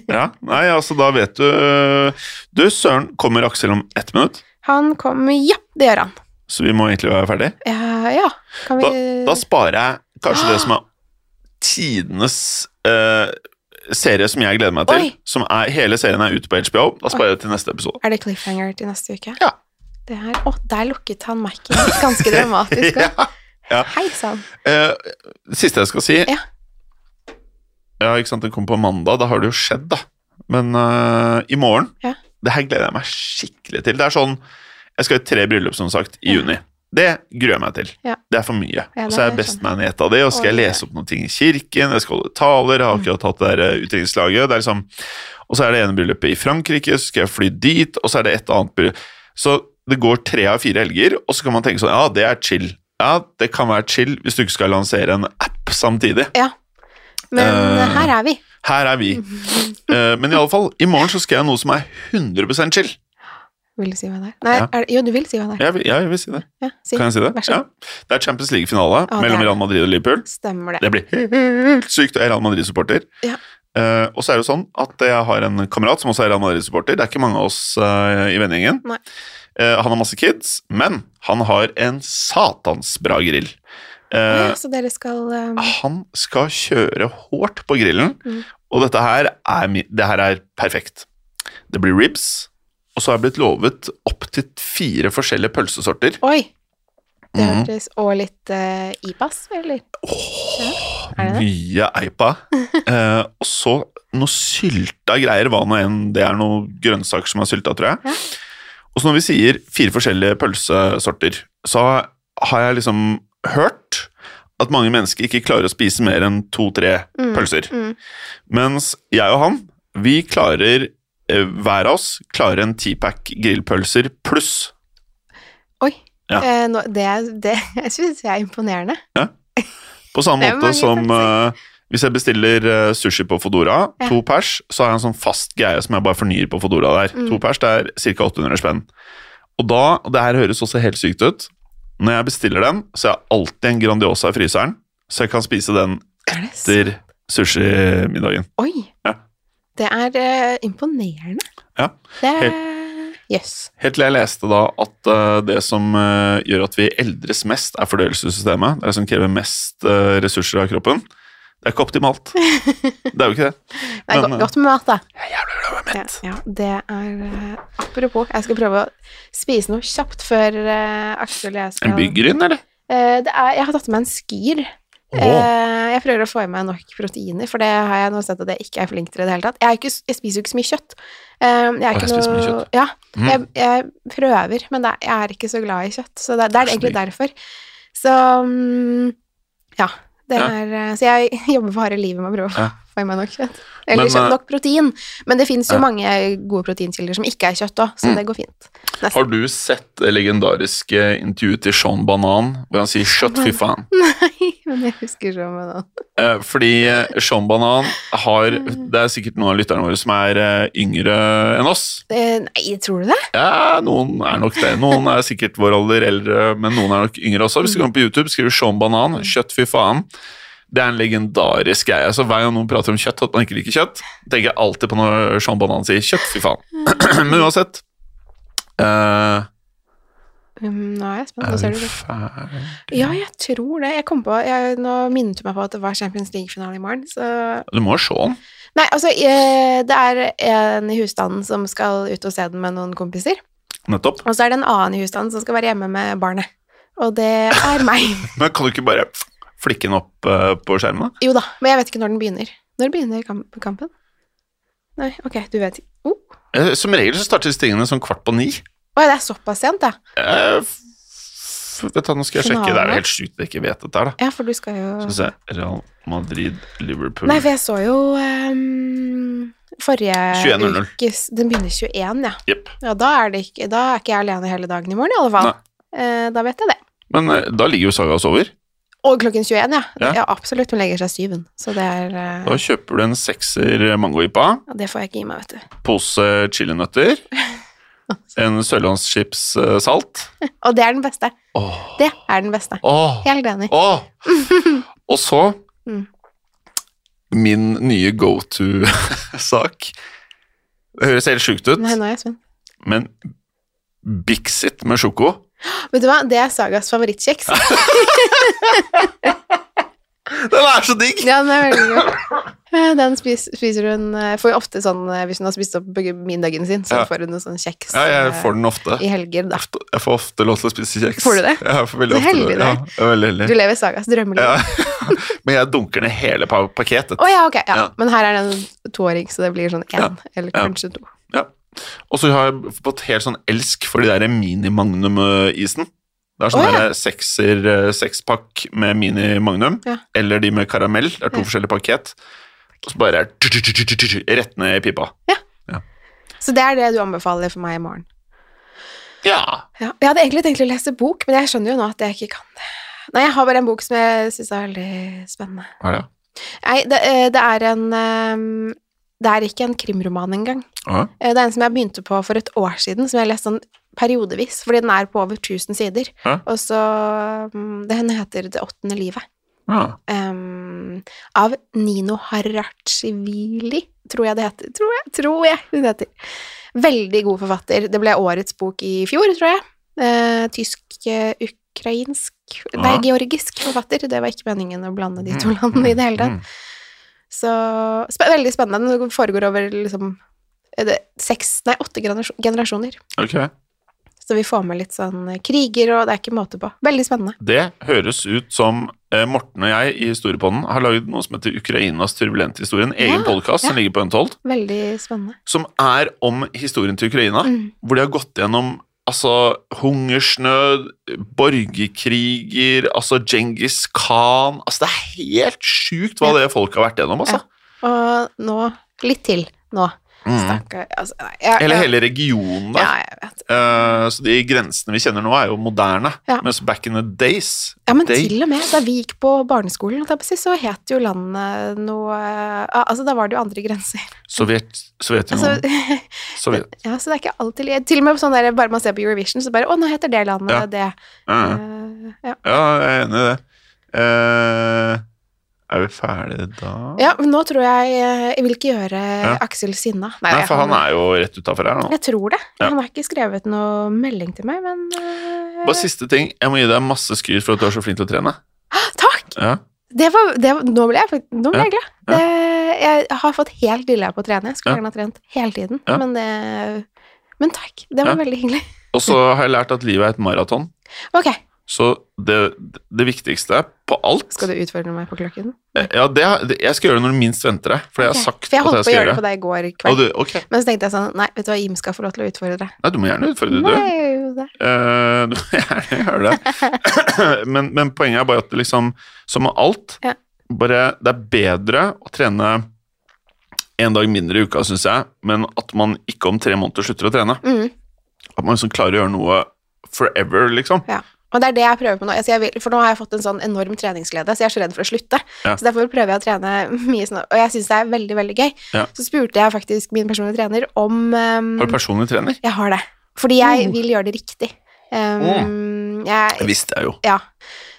Speaker 1: Ja, nei, altså da vet du eh, Du, Søren, kommer Aksel om ett minutt?
Speaker 2: Han kom Ja, det gjør han.
Speaker 1: Så vi må egentlig være ferdig.
Speaker 2: Ja, ja. Kan vi
Speaker 1: Da sparer jeg kanskje
Speaker 2: Ah.
Speaker 1: det som er tidenes eh, serie som jeg gleder meg til.
Speaker 2: Oi.
Speaker 1: Som er, hele serien er ute på HBO. Da sparer jeg det til neste episode.
Speaker 2: Er det cliffhanger til neste uke?
Speaker 1: Ja.
Speaker 2: Det her Å, der lukket han mic-en. Ganske
Speaker 1: [LAUGHS]
Speaker 2: dramatisk. også.
Speaker 1: ja.
Speaker 2: Hei sann.
Speaker 1: Eh, det siste jeg skal si
Speaker 2: Ja.
Speaker 1: Ja, ikke sant, Den kommer på mandag. Da har det jo skjedd, da. Men eh, i morgen
Speaker 2: Ja.
Speaker 1: Det her gleder jeg meg skikkelig til. Det er sånn Jeg skal i tre bryllup, som sagt, i
Speaker 2: Ja.
Speaker 1: juni. Det gruer jeg meg til.
Speaker 2: Ja.
Speaker 1: Det er for mye.
Speaker 2: Ja, det
Speaker 1: så er jeg
Speaker 2: skjønner
Speaker 1: best meg ned av det, og så skal jeg
Speaker 2: Oi.
Speaker 1: lese opp noen ting i kirken, jeg skal holde taler, jeg har akkurat hatt det der, eh, utdrikningslaget. Det er liksom Og så er det ene bryllupet i Frankrike, så skal jeg fly dit, og så er det et annet bryllup Så det går tre av fire helger, og så kan man tenke sånn Ja, det er chill. Ja, det kan være chill hvis du ikke skal lansere en app samtidig.
Speaker 2: Men
Speaker 1: Eh.
Speaker 2: her er vi.
Speaker 1: Her
Speaker 2: [LAUGHS]
Speaker 1: er vi. Eh, Men i alle fall, i morgen så skal jeg noe som er 100 chill.
Speaker 2: Vil du si hva det er? Nei,
Speaker 1: Ja.
Speaker 2: er det, jo, du vil si hva det er.
Speaker 1: Jeg vil, jeg vil si det.
Speaker 2: Ja, si.
Speaker 1: Kan jeg si det?
Speaker 2: Vær så
Speaker 1: Ja.
Speaker 2: god.
Speaker 1: Det er Champions League-finale
Speaker 2: det
Speaker 1: mellom
Speaker 2: er det.
Speaker 1: Real Madrid og Liverpool.
Speaker 2: Stemmer
Speaker 1: Det
Speaker 2: det.
Speaker 1: blir helt sykt, og jeg er Real Madrid-supporter.
Speaker 2: Ja.
Speaker 1: Eh, og så er det jo sånn at jeg har en kamerat som også er Real Madrid-supporter. Det er ikke mange av oss eh, i vennegjengen.
Speaker 2: Nei.
Speaker 1: Eh, han har masse kids, men han har en satans bra grill. Eh,
Speaker 2: Ja, så dere skal um,
Speaker 1: Han skal kjøre hårdt på grillen,
Speaker 2: Mm.
Speaker 1: og dette her er, mi- det her er perfekt. Det blir ribs, og så har jeg blitt lovet opptil fire forskjellige pølsesorter.
Speaker 2: Oi! Det
Speaker 1: Mhm.
Speaker 2: hørtes Og litt eh, IPAS, eller? Ja, er det det?
Speaker 1: Mye
Speaker 2: [LAUGHS]
Speaker 1: eipa. Eh, og så noe sylta greier, hva nå enn det er noen grønnsaker som er sylta, tror jeg.
Speaker 2: Ja.
Speaker 1: Og så når vi sier fire forskjellige pølsesorter, så har jeg liksom hørt at mange mennesker ikke klarer å spise mer enn to-tre
Speaker 2: Mm.
Speaker 1: pølser.
Speaker 2: Mm.
Speaker 1: Mens jeg og han, vi klarer eh, hver av oss klarer en tipack grillpølser pluss.
Speaker 2: Oi.
Speaker 1: Ja.
Speaker 2: Eh, nå, det er- det [LAUGHS] syns jeg er imponerende.
Speaker 1: På samme
Speaker 2: Det er
Speaker 1: måte
Speaker 2: mange
Speaker 1: som eh, hvis jeg bestiller eh, sushi på Fodora,
Speaker 2: Ja.
Speaker 1: to pers, så har jeg en sånn fast greie som jeg bare fornyer på Fodora der.
Speaker 2: Mm.
Speaker 1: To pers, det er ca. 800 spenn. Og da, og det her høres også helt sykt ut, når jeg bestiller den, så har jeg alltid en Grandiosa i fryseren, så jeg kan spise den
Speaker 2: Er det så?
Speaker 1: etter sushimiddagen.
Speaker 2: Oi!
Speaker 1: Ja.
Speaker 2: Det er eh, imponerende.
Speaker 1: Ja.
Speaker 2: Det er eh, Jøs.
Speaker 1: Helt til jeg leste da at eh, det som eh, gjør at vi eldres mest, er fordøyelsessystemet. Det er det som krever mest eh, ressurser av kroppen. Det er ikke
Speaker 2: [LAUGHS]
Speaker 1: optimalt. Det er jo ikke det.
Speaker 2: Det er
Speaker 1: Men,
Speaker 2: go-
Speaker 1: eh,
Speaker 2: godt med mat, da.
Speaker 1: Jeg er jævlig glad i å være
Speaker 2: Ja,
Speaker 1: mett.
Speaker 2: ja, det er eh, Apropos, jeg skal prøve å spise noe kjapt før eh, Aksel og jeg skal
Speaker 1: En byggryn, eller?
Speaker 2: Eh, det er, jeg har tatt med en skyr.
Speaker 1: Åh,
Speaker 2: Eh, jeg prøver å få i meg nok proteiner, for det har jeg nå sett at jeg ikke er flink til i det hele tatt. Jeg, er ikke, s- jeg spiser jo ikke så mye kjøtt. Eh, jeg, er
Speaker 1: Åh,
Speaker 2: ikke
Speaker 1: jeg spiser mye
Speaker 2: noe- Ja,
Speaker 1: mm.
Speaker 2: jeg, jeg prøver, men det, er- jeg er ikke så glad i kjøtt. Så det, det er
Speaker 1: Det er så
Speaker 2: egentlig derfor. Så mm, ja. Det
Speaker 1: Ja.
Speaker 2: er, eh, så jeg [LAUGHS] jobber for harde livet med å prøve å
Speaker 1: Ja.
Speaker 2: få i meg nok kjøtt. Eller
Speaker 1: Men, eh,
Speaker 2: kjøtt, nok protein. Men det fins jo
Speaker 1: ja.
Speaker 2: mange gode proteinkilder som ikke er kjøtt òg, så
Speaker 1: Mm.
Speaker 2: det går fint. Nesten.
Speaker 1: Har du sett det legendariske intervjuet til Sean Banan, hvor han sier 'shut fy faen'?
Speaker 2: [LAUGHS] Nei, men jeg husker så med noe.
Speaker 1: Eh, Fordi eh, Sean Banan har Det er sikkert noen av lytterne våre som er eh, yngre enn oss.
Speaker 2: Eh, Nei, tror du det?
Speaker 1: Ja, noen er nok det. Noen er sikkert vår alder eldre, men noen er nok yngre også. Hvis du går inn på YouTube, skriver Sean Banan, kjøtt fy faen. Det er en legendarisk greie. Så hver gang noen prater om kjøtt, at man ikke liker kjøtt, tenker jeg alltid på når Sean Banan sier kjøtt fy faen. [CLEARS THROAT] Men uansett eh,
Speaker 2: Mm, Nå er jeg spent. Nå
Speaker 1: Er
Speaker 2: ser
Speaker 1: vi
Speaker 2: du det.
Speaker 1: ferdig?
Speaker 2: Ja, jeg tror det. Jeg kom på, jeg, nå minnet du meg på at det var Champions League-finale i morgen. Så.
Speaker 1: Du må jo se den.
Speaker 2: Nei, altså, eh, det er en i husstanden som skal ut og se den med noen kompiser.
Speaker 1: Nettopp.
Speaker 2: Og så er det en annen i husstanden som skal være hjemme med barnet. Og det er meg.
Speaker 1: Men kan du ikke bare flikke den opp eh, på skjermen, da?
Speaker 2: Jo da, men jeg vet ikke når den begynner. Når begynner kamp kampen? Nei, ok, du vet ikke. Å, oh.
Speaker 1: Eh, Som regel så startes tingene sånn kvart på ni.
Speaker 2: Oi, det er såpass sent, da.
Speaker 1: Eh, f- vet du, hva, nå skal jeg sjekke. Det er
Speaker 2: Finale.
Speaker 1: jo helt sjukt at jeg ikke vet dette her, da.
Speaker 2: Ja, for du skal jo
Speaker 1: Skal vi se. Real Madrid, Liverpool
Speaker 2: Nei, for jeg så jo ehm, forrige
Speaker 1: 21.00.
Speaker 2: ukes Den begynner 21, ja.
Speaker 1: Jepp.
Speaker 2: Ja, da er, det ikke, da er ikke jeg alene hele dagen i morgen, i alle fall. Eh, da vet jeg det.
Speaker 1: Men eh, da ligger jo Saga og sover.
Speaker 2: Og klokken 21, ja.
Speaker 1: Ja.
Speaker 2: ja. absolutt. Hun legger seg syven. Så det er eh,
Speaker 1: Da kjøper du en sekser mangojipa,
Speaker 2: ja, Det får jeg ikke i meg, vet du.
Speaker 1: pose
Speaker 2: [LAUGHS]
Speaker 1: chilinøtter, en sørlandschips eh, salt
Speaker 2: Og det er den beste.
Speaker 1: Åh,
Speaker 2: Det er den beste.
Speaker 1: åh,
Speaker 2: Helt enig.
Speaker 1: åh. Og så
Speaker 2: Mm.
Speaker 1: min nye go to-sak. Det høres helt sjukt ut,
Speaker 2: Nei, nå er jeg spent.
Speaker 1: men Bixit med sjoko.
Speaker 2: Vet du hva, det er Sagas
Speaker 1: [LAUGHS]
Speaker 2: favorittkjeks.
Speaker 1: Den er så digg!
Speaker 2: Ja, den er veldig god. Eh, Den spis, spiser hun eh, Får jo ofte sånn eh, Hvis hun har spist opp middagen sin, så
Speaker 1: Ja.
Speaker 2: får hun noe sånn kjeks
Speaker 1: Ja, jeg
Speaker 2: eh,
Speaker 1: får den ofte.
Speaker 2: i helger, da.
Speaker 1: Ofte- Jeg får ofte lov til å spise kjeks.
Speaker 2: Får du det?
Speaker 1: Ja, Jeg får veldig
Speaker 2: Så
Speaker 1: ofte
Speaker 2: heldig
Speaker 1: det.
Speaker 2: du
Speaker 1: Ja,
Speaker 2: er.
Speaker 1: jeg er veldig
Speaker 2: Du
Speaker 1: heldig.
Speaker 2: lever Sagas drømmeliv.
Speaker 1: Ja. Men jeg dunker ned hele pa- pakketet.
Speaker 2: Å ja, ok. Ja.
Speaker 1: Ja.
Speaker 2: Men her er det en toåring, så det blir sånn én,
Speaker 1: Ja.
Speaker 2: eller
Speaker 1: Ja.
Speaker 2: kanskje to.
Speaker 1: Ja. Og så har jeg fått helt sånn elsk for de der mini-magnum-isen. Det er sånn
Speaker 2: Å, ja.
Speaker 1: der sekser, eh, sekspakk med mini-magnum,
Speaker 2: Ja.
Speaker 1: eller de med karamell. Det er to
Speaker 2: Ja.
Speaker 1: forskjellige pakket. Og så bare rett ned i pipa.
Speaker 2: Så det er det du anbefaler for meg i morgen.
Speaker 1: Ja.
Speaker 2: Ja. Jeg hadde egentlig tenkt å lese bok, men jeg skjønner jo nå at jeg ikke kan det. Nei, jeg har bare en bok som jeg syns er veldig spennende.
Speaker 1: Hva er det?
Speaker 2: Nei, det, eh, det er en eh, Det er ikke en krimroman engang.
Speaker 1: Ja.
Speaker 2: Eh, Det er en som jeg begynte på for et år siden, som jeg har lest sånn periodevis, fordi den er på over 1000 sider.
Speaker 1: Hæ?
Speaker 2: Og så mm, Den heter Det åttende livet.
Speaker 1: Ja.
Speaker 2: Ehm, av Nino Harachivili, tror jeg det heter. Tror jeg, tror jeg hun heter. Veldig god forfatter. Det ble årets bok i fjor, tror jeg. Eh, tysk, eh, ukrainsk Nei,
Speaker 1: Ja.
Speaker 2: georgisk forfatter. Det var ikke meningen å blande de to landene i det hele tatt.
Speaker 1: Mm.
Speaker 2: Så sp veldig spennende. Det foregår over liksom er det seks, nei, åtte generasjon- generasjoner.
Speaker 1: Ok.
Speaker 2: Så vi får med litt sånn eh, kriger, og det er ikke måte på. Veldig spennende.
Speaker 1: Det høres ut som eh, Morten og jeg i Storepodden har lagd noe som heter Ukrainas turbulente historie. En egen
Speaker 2: Ja,
Speaker 1: podcast som ligger på N12,
Speaker 2: Veldig spennende.
Speaker 1: som er om historien til Ukraina.
Speaker 2: Mm.
Speaker 1: hvor de har gått gjennom altså, hungersnød, borgerkriger, altså Djengis Khan altså, Det er helt sjukt hva det folk har vært gjennom. Altså.
Speaker 2: Og nå litt til. Nå.
Speaker 1: Mm.
Speaker 2: Stakkar. Altså, nei, jeg,
Speaker 1: Hele,
Speaker 2: jeg-
Speaker 1: hele regionen
Speaker 2: Ja,
Speaker 1: der.
Speaker 2: jeg vet.
Speaker 1: Eh, så de grensene vi kjenner nå, er jo moderne.
Speaker 2: Ja.
Speaker 1: Mens back in the days
Speaker 2: Ja, men
Speaker 1: they-
Speaker 2: til og med da vi gikk på barneskolen, holdt jeg på å si, så het jo landet noe ah, Altså, da var det jo andre grenser.
Speaker 1: Sovjet, Sovjetunionen
Speaker 2: Altså, [LAUGHS]
Speaker 1: Sovjet.
Speaker 2: ja, så det er ikke alltid li- Til og med sånn der, bare man ser på Eurovision, så bare Å, nå heter det landet
Speaker 1: Ja.
Speaker 2: det.
Speaker 1: Ja, ja.
Speaker 2: Eh, ja.
Speaker 1: ja, jeg er enig i det. Eh, er vi ferdige da?
Speaker 2: ja, men nå tror jeg eh, Jeg vil ikke gjøre
Speaker 1: Ja.
Speaker 2: Aksel sinna.
Speaker 1: Nei, for han er jo rett utafor her nå.
Speaker 2: Jeg tror det.
Speaker 1: Ja.
Speaker 2: Han har ikke skrevet noe melding til meg, men eh,
Speaker 1: Bare siste ting. Jeg må gi deg masse skryt for at du er så flink til å trene.
Speaker 2: ah, Takk!
Speaker 1: Ja.
Speaker 2: Det var, det var, nå ble jeg, fakt- nå ble
Speaker 1: Ja,
Speaker 2: jeg glad. Det, jeg har fått helt dilla på å trene. Jeg skulle
Speaker 1: Ja.
Speaker 2: gjerne ha trent hele tiden,
Speaker 1: Ja.
Speaker 2: men det Men takk. Det var
Speaker 1: Ja.
Speaker 2: veldig hyggelig.
Speaker 1: Og så har jeg lært at livet er et maraton.
Speaker 2: Ok,
Speaker 1: Så det, det viktigste på alt
Speaker 2: skal du utfordre meg på klokken?
Speaker 1: Ja, det, det- jeg skal gjøre det når du minst venter det. For det har jeg
Speaker 2: Ok,
Speaker 1: har sagt
Speaker 2: For jeg
Speaker 1: at
Speaker 2: holdt
Speaker 1: jeg
Speaker 2: på å
Speaker 1: skal
Speaker 2: gjøre
Speaker 1: gjøre.
Speaker 2: det på deg i går
Speaker 1: Og
Speaker 2: kveld.
Speaker 1: du, ok,
Speaker 2: Men så tenkte jeg sånn Nei, vet du hva, Im skal få lov til å utfordre deg.
Speaker 1: Nei, du må gjerne utfordre det, du.
Speaker 2: Nei, jeg gjorde det.
Speaker 1: Eh, Du må [LAUGHS] gjerne gjøre
Speaker 2: [LAUGHS]
Speaker 1: det. men, men poenget er bare at det liksom, som med alt,
Speaker 2: Ja.
Speaker 1: bare det er bedre å trene en dag mindre i uka, syns jeg, men at man ikke om tre måneder slutter å trene.
Speaker 2: Mm.
Speaker 1: At man liksom klarer å gjøre noe forever, liksom.
Speaker 2: Og det er det jeg prøver på nå. Altså jeg vil, for nå har jeg fått en sånn enorm treningsglede, så jeg er så redd for å slutte.
Speaker 1: Ja.
Speaker 2: Så derfor prøver jeg å trene mye sånn, og jeg syns det er veldig, veldig gøy.
Speaker 1: Ja.
Speaker 2: Så spurte jeg faktisk min personlige trener om um,
Speaker 1: Har du personlig trener?
Speaker 2: Jeg har det. Fordi jeg
Speaker 1: Mm.
Speaker 2: vil gjøre det riktig. Um,
Speaker 1: Det
Speaker 2: jeg,
Speaker 1: visste jeg jo.
Speaker 2: ja.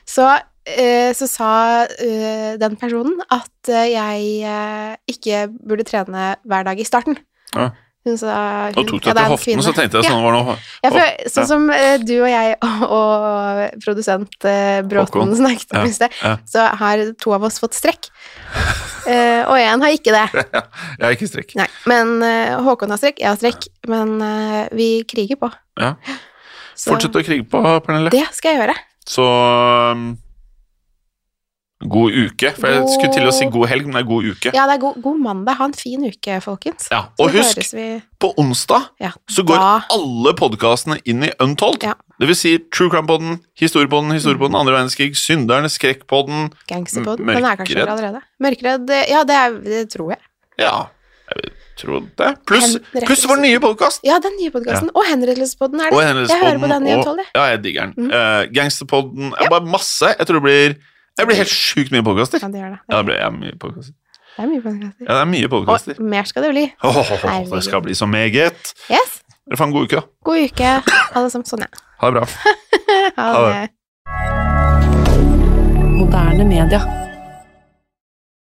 Speaker 2: Så, eh, så sa eh, den personen at eh, jeg eh, ikke burde trene hver dag i starten.
Speaker 1: Ja.
Speaker 2: Hun sa
Speaker 1: Og tok det
Speaker 2: det er
Speaker 1: til
Speaker 2: en
Speaker 1: hoften,
Speaker 2: kvinne.
Speaker 1: så tenkte jeg sånn var det noe
Speaker 2: Ja, for,
Speaker 1: Åh,
Speaker 2: sånn
Speaker 1: ja.
Speaker 2: som eh, du og jeg [LAUGHS] og, og produsent eh, Bråten
Speaker 1: Håkon.
Speaker 2: snakket om
Speaker 1: Ja,
Speaker 2: i sted,
Speaker 1: ja.
Speaker 2: så har to av oss fått strekk. Eh, og én har ikke det.
Speaker 1: Jeg er ikke strekk.
Speaker 2: Nei, men eh, Håkon har strekk, jeg har strekk. Men eh, vi kriger på.
Speaker 1: Ja.
Speaker 2: Så
Speaker 1: Fortsett å krige på, Pernille.
Speaker 2: det skal jeg gjøre.
Speaker 1: Så um, God uke. For jeg
Speaker 2: God-
Speaker 1: skulle til å si god helg, men det er god uke.
Speaker 2: Ja, det er god, god mandag. Ha en fin uke, folkens.
Speaker 1: Ja,
Speaker 2: Så
Speaker 1: og husk,
Speaker 2: høres vi,
Speaker 1: på onsdag
Speaker 2: ja,
Speaker 1: så går
Speaker 2: da. alle
Speaker 1: alle podkastene inn i Untold.
Speaker 2: Ja. Mm.
Speaker 1: Det vil si True Crime-podden, Historiepodden, Historiepodden, Andre verdenskrig, Synderne, Skrekkpodden
Speaker 2: Gangsterpodden. Den er kanskje
Speaker 1: Mørkeredd.
Speaker 2: der allerede. Mørkeredd eh, Ja, det, er, det tror jeg.
Speaker 1: Ja, jeg vil tro det. Pluss
Speaker 2: Henrettelses-
Speaker 1: pluss vår nye podkast!
Speaker 2: Ja, den nye podkasten. Og Henrettelsespodden er
Speaker 1: Og
Speaker 2: det. Jeg hører på
Speaker 1: Hendelsespodden.
Speaker 2: den i en
Speaker 1: Og,
Speaker 2: tolv, jeg.
Speaker 1: ja, jeg digger den.
Speaker 2: Mhm.
Speaker 1: Eh, gangsterpodden ja.
Speaker 2: Ja.
Speaker 1: Bare masse. Jeg tror det blir Jeg blir helt sjukt mye podkaster.
Speaker 2: Ja, det gjør det.
Speaker 1: Ja, det blir ja, mye podkaster.
Speaker 2: Det er mye podkaster.
Speaker 1: Ja, det er mye podkaster.
Speaker 2: Og mer skal det bli.
Speaker 1: det skal bli så meget.
Speaker 2: Yes.
Speaker 1: Dere får en god uke, da.
Speaker 2: God uke, alle sammen. Sånn, ja.
Speaker 1: Ha det bra.
Speaker 2: Ha
Speaker 1: Ha det.
Speaker 2: det.
Speaker 3: Moderne media.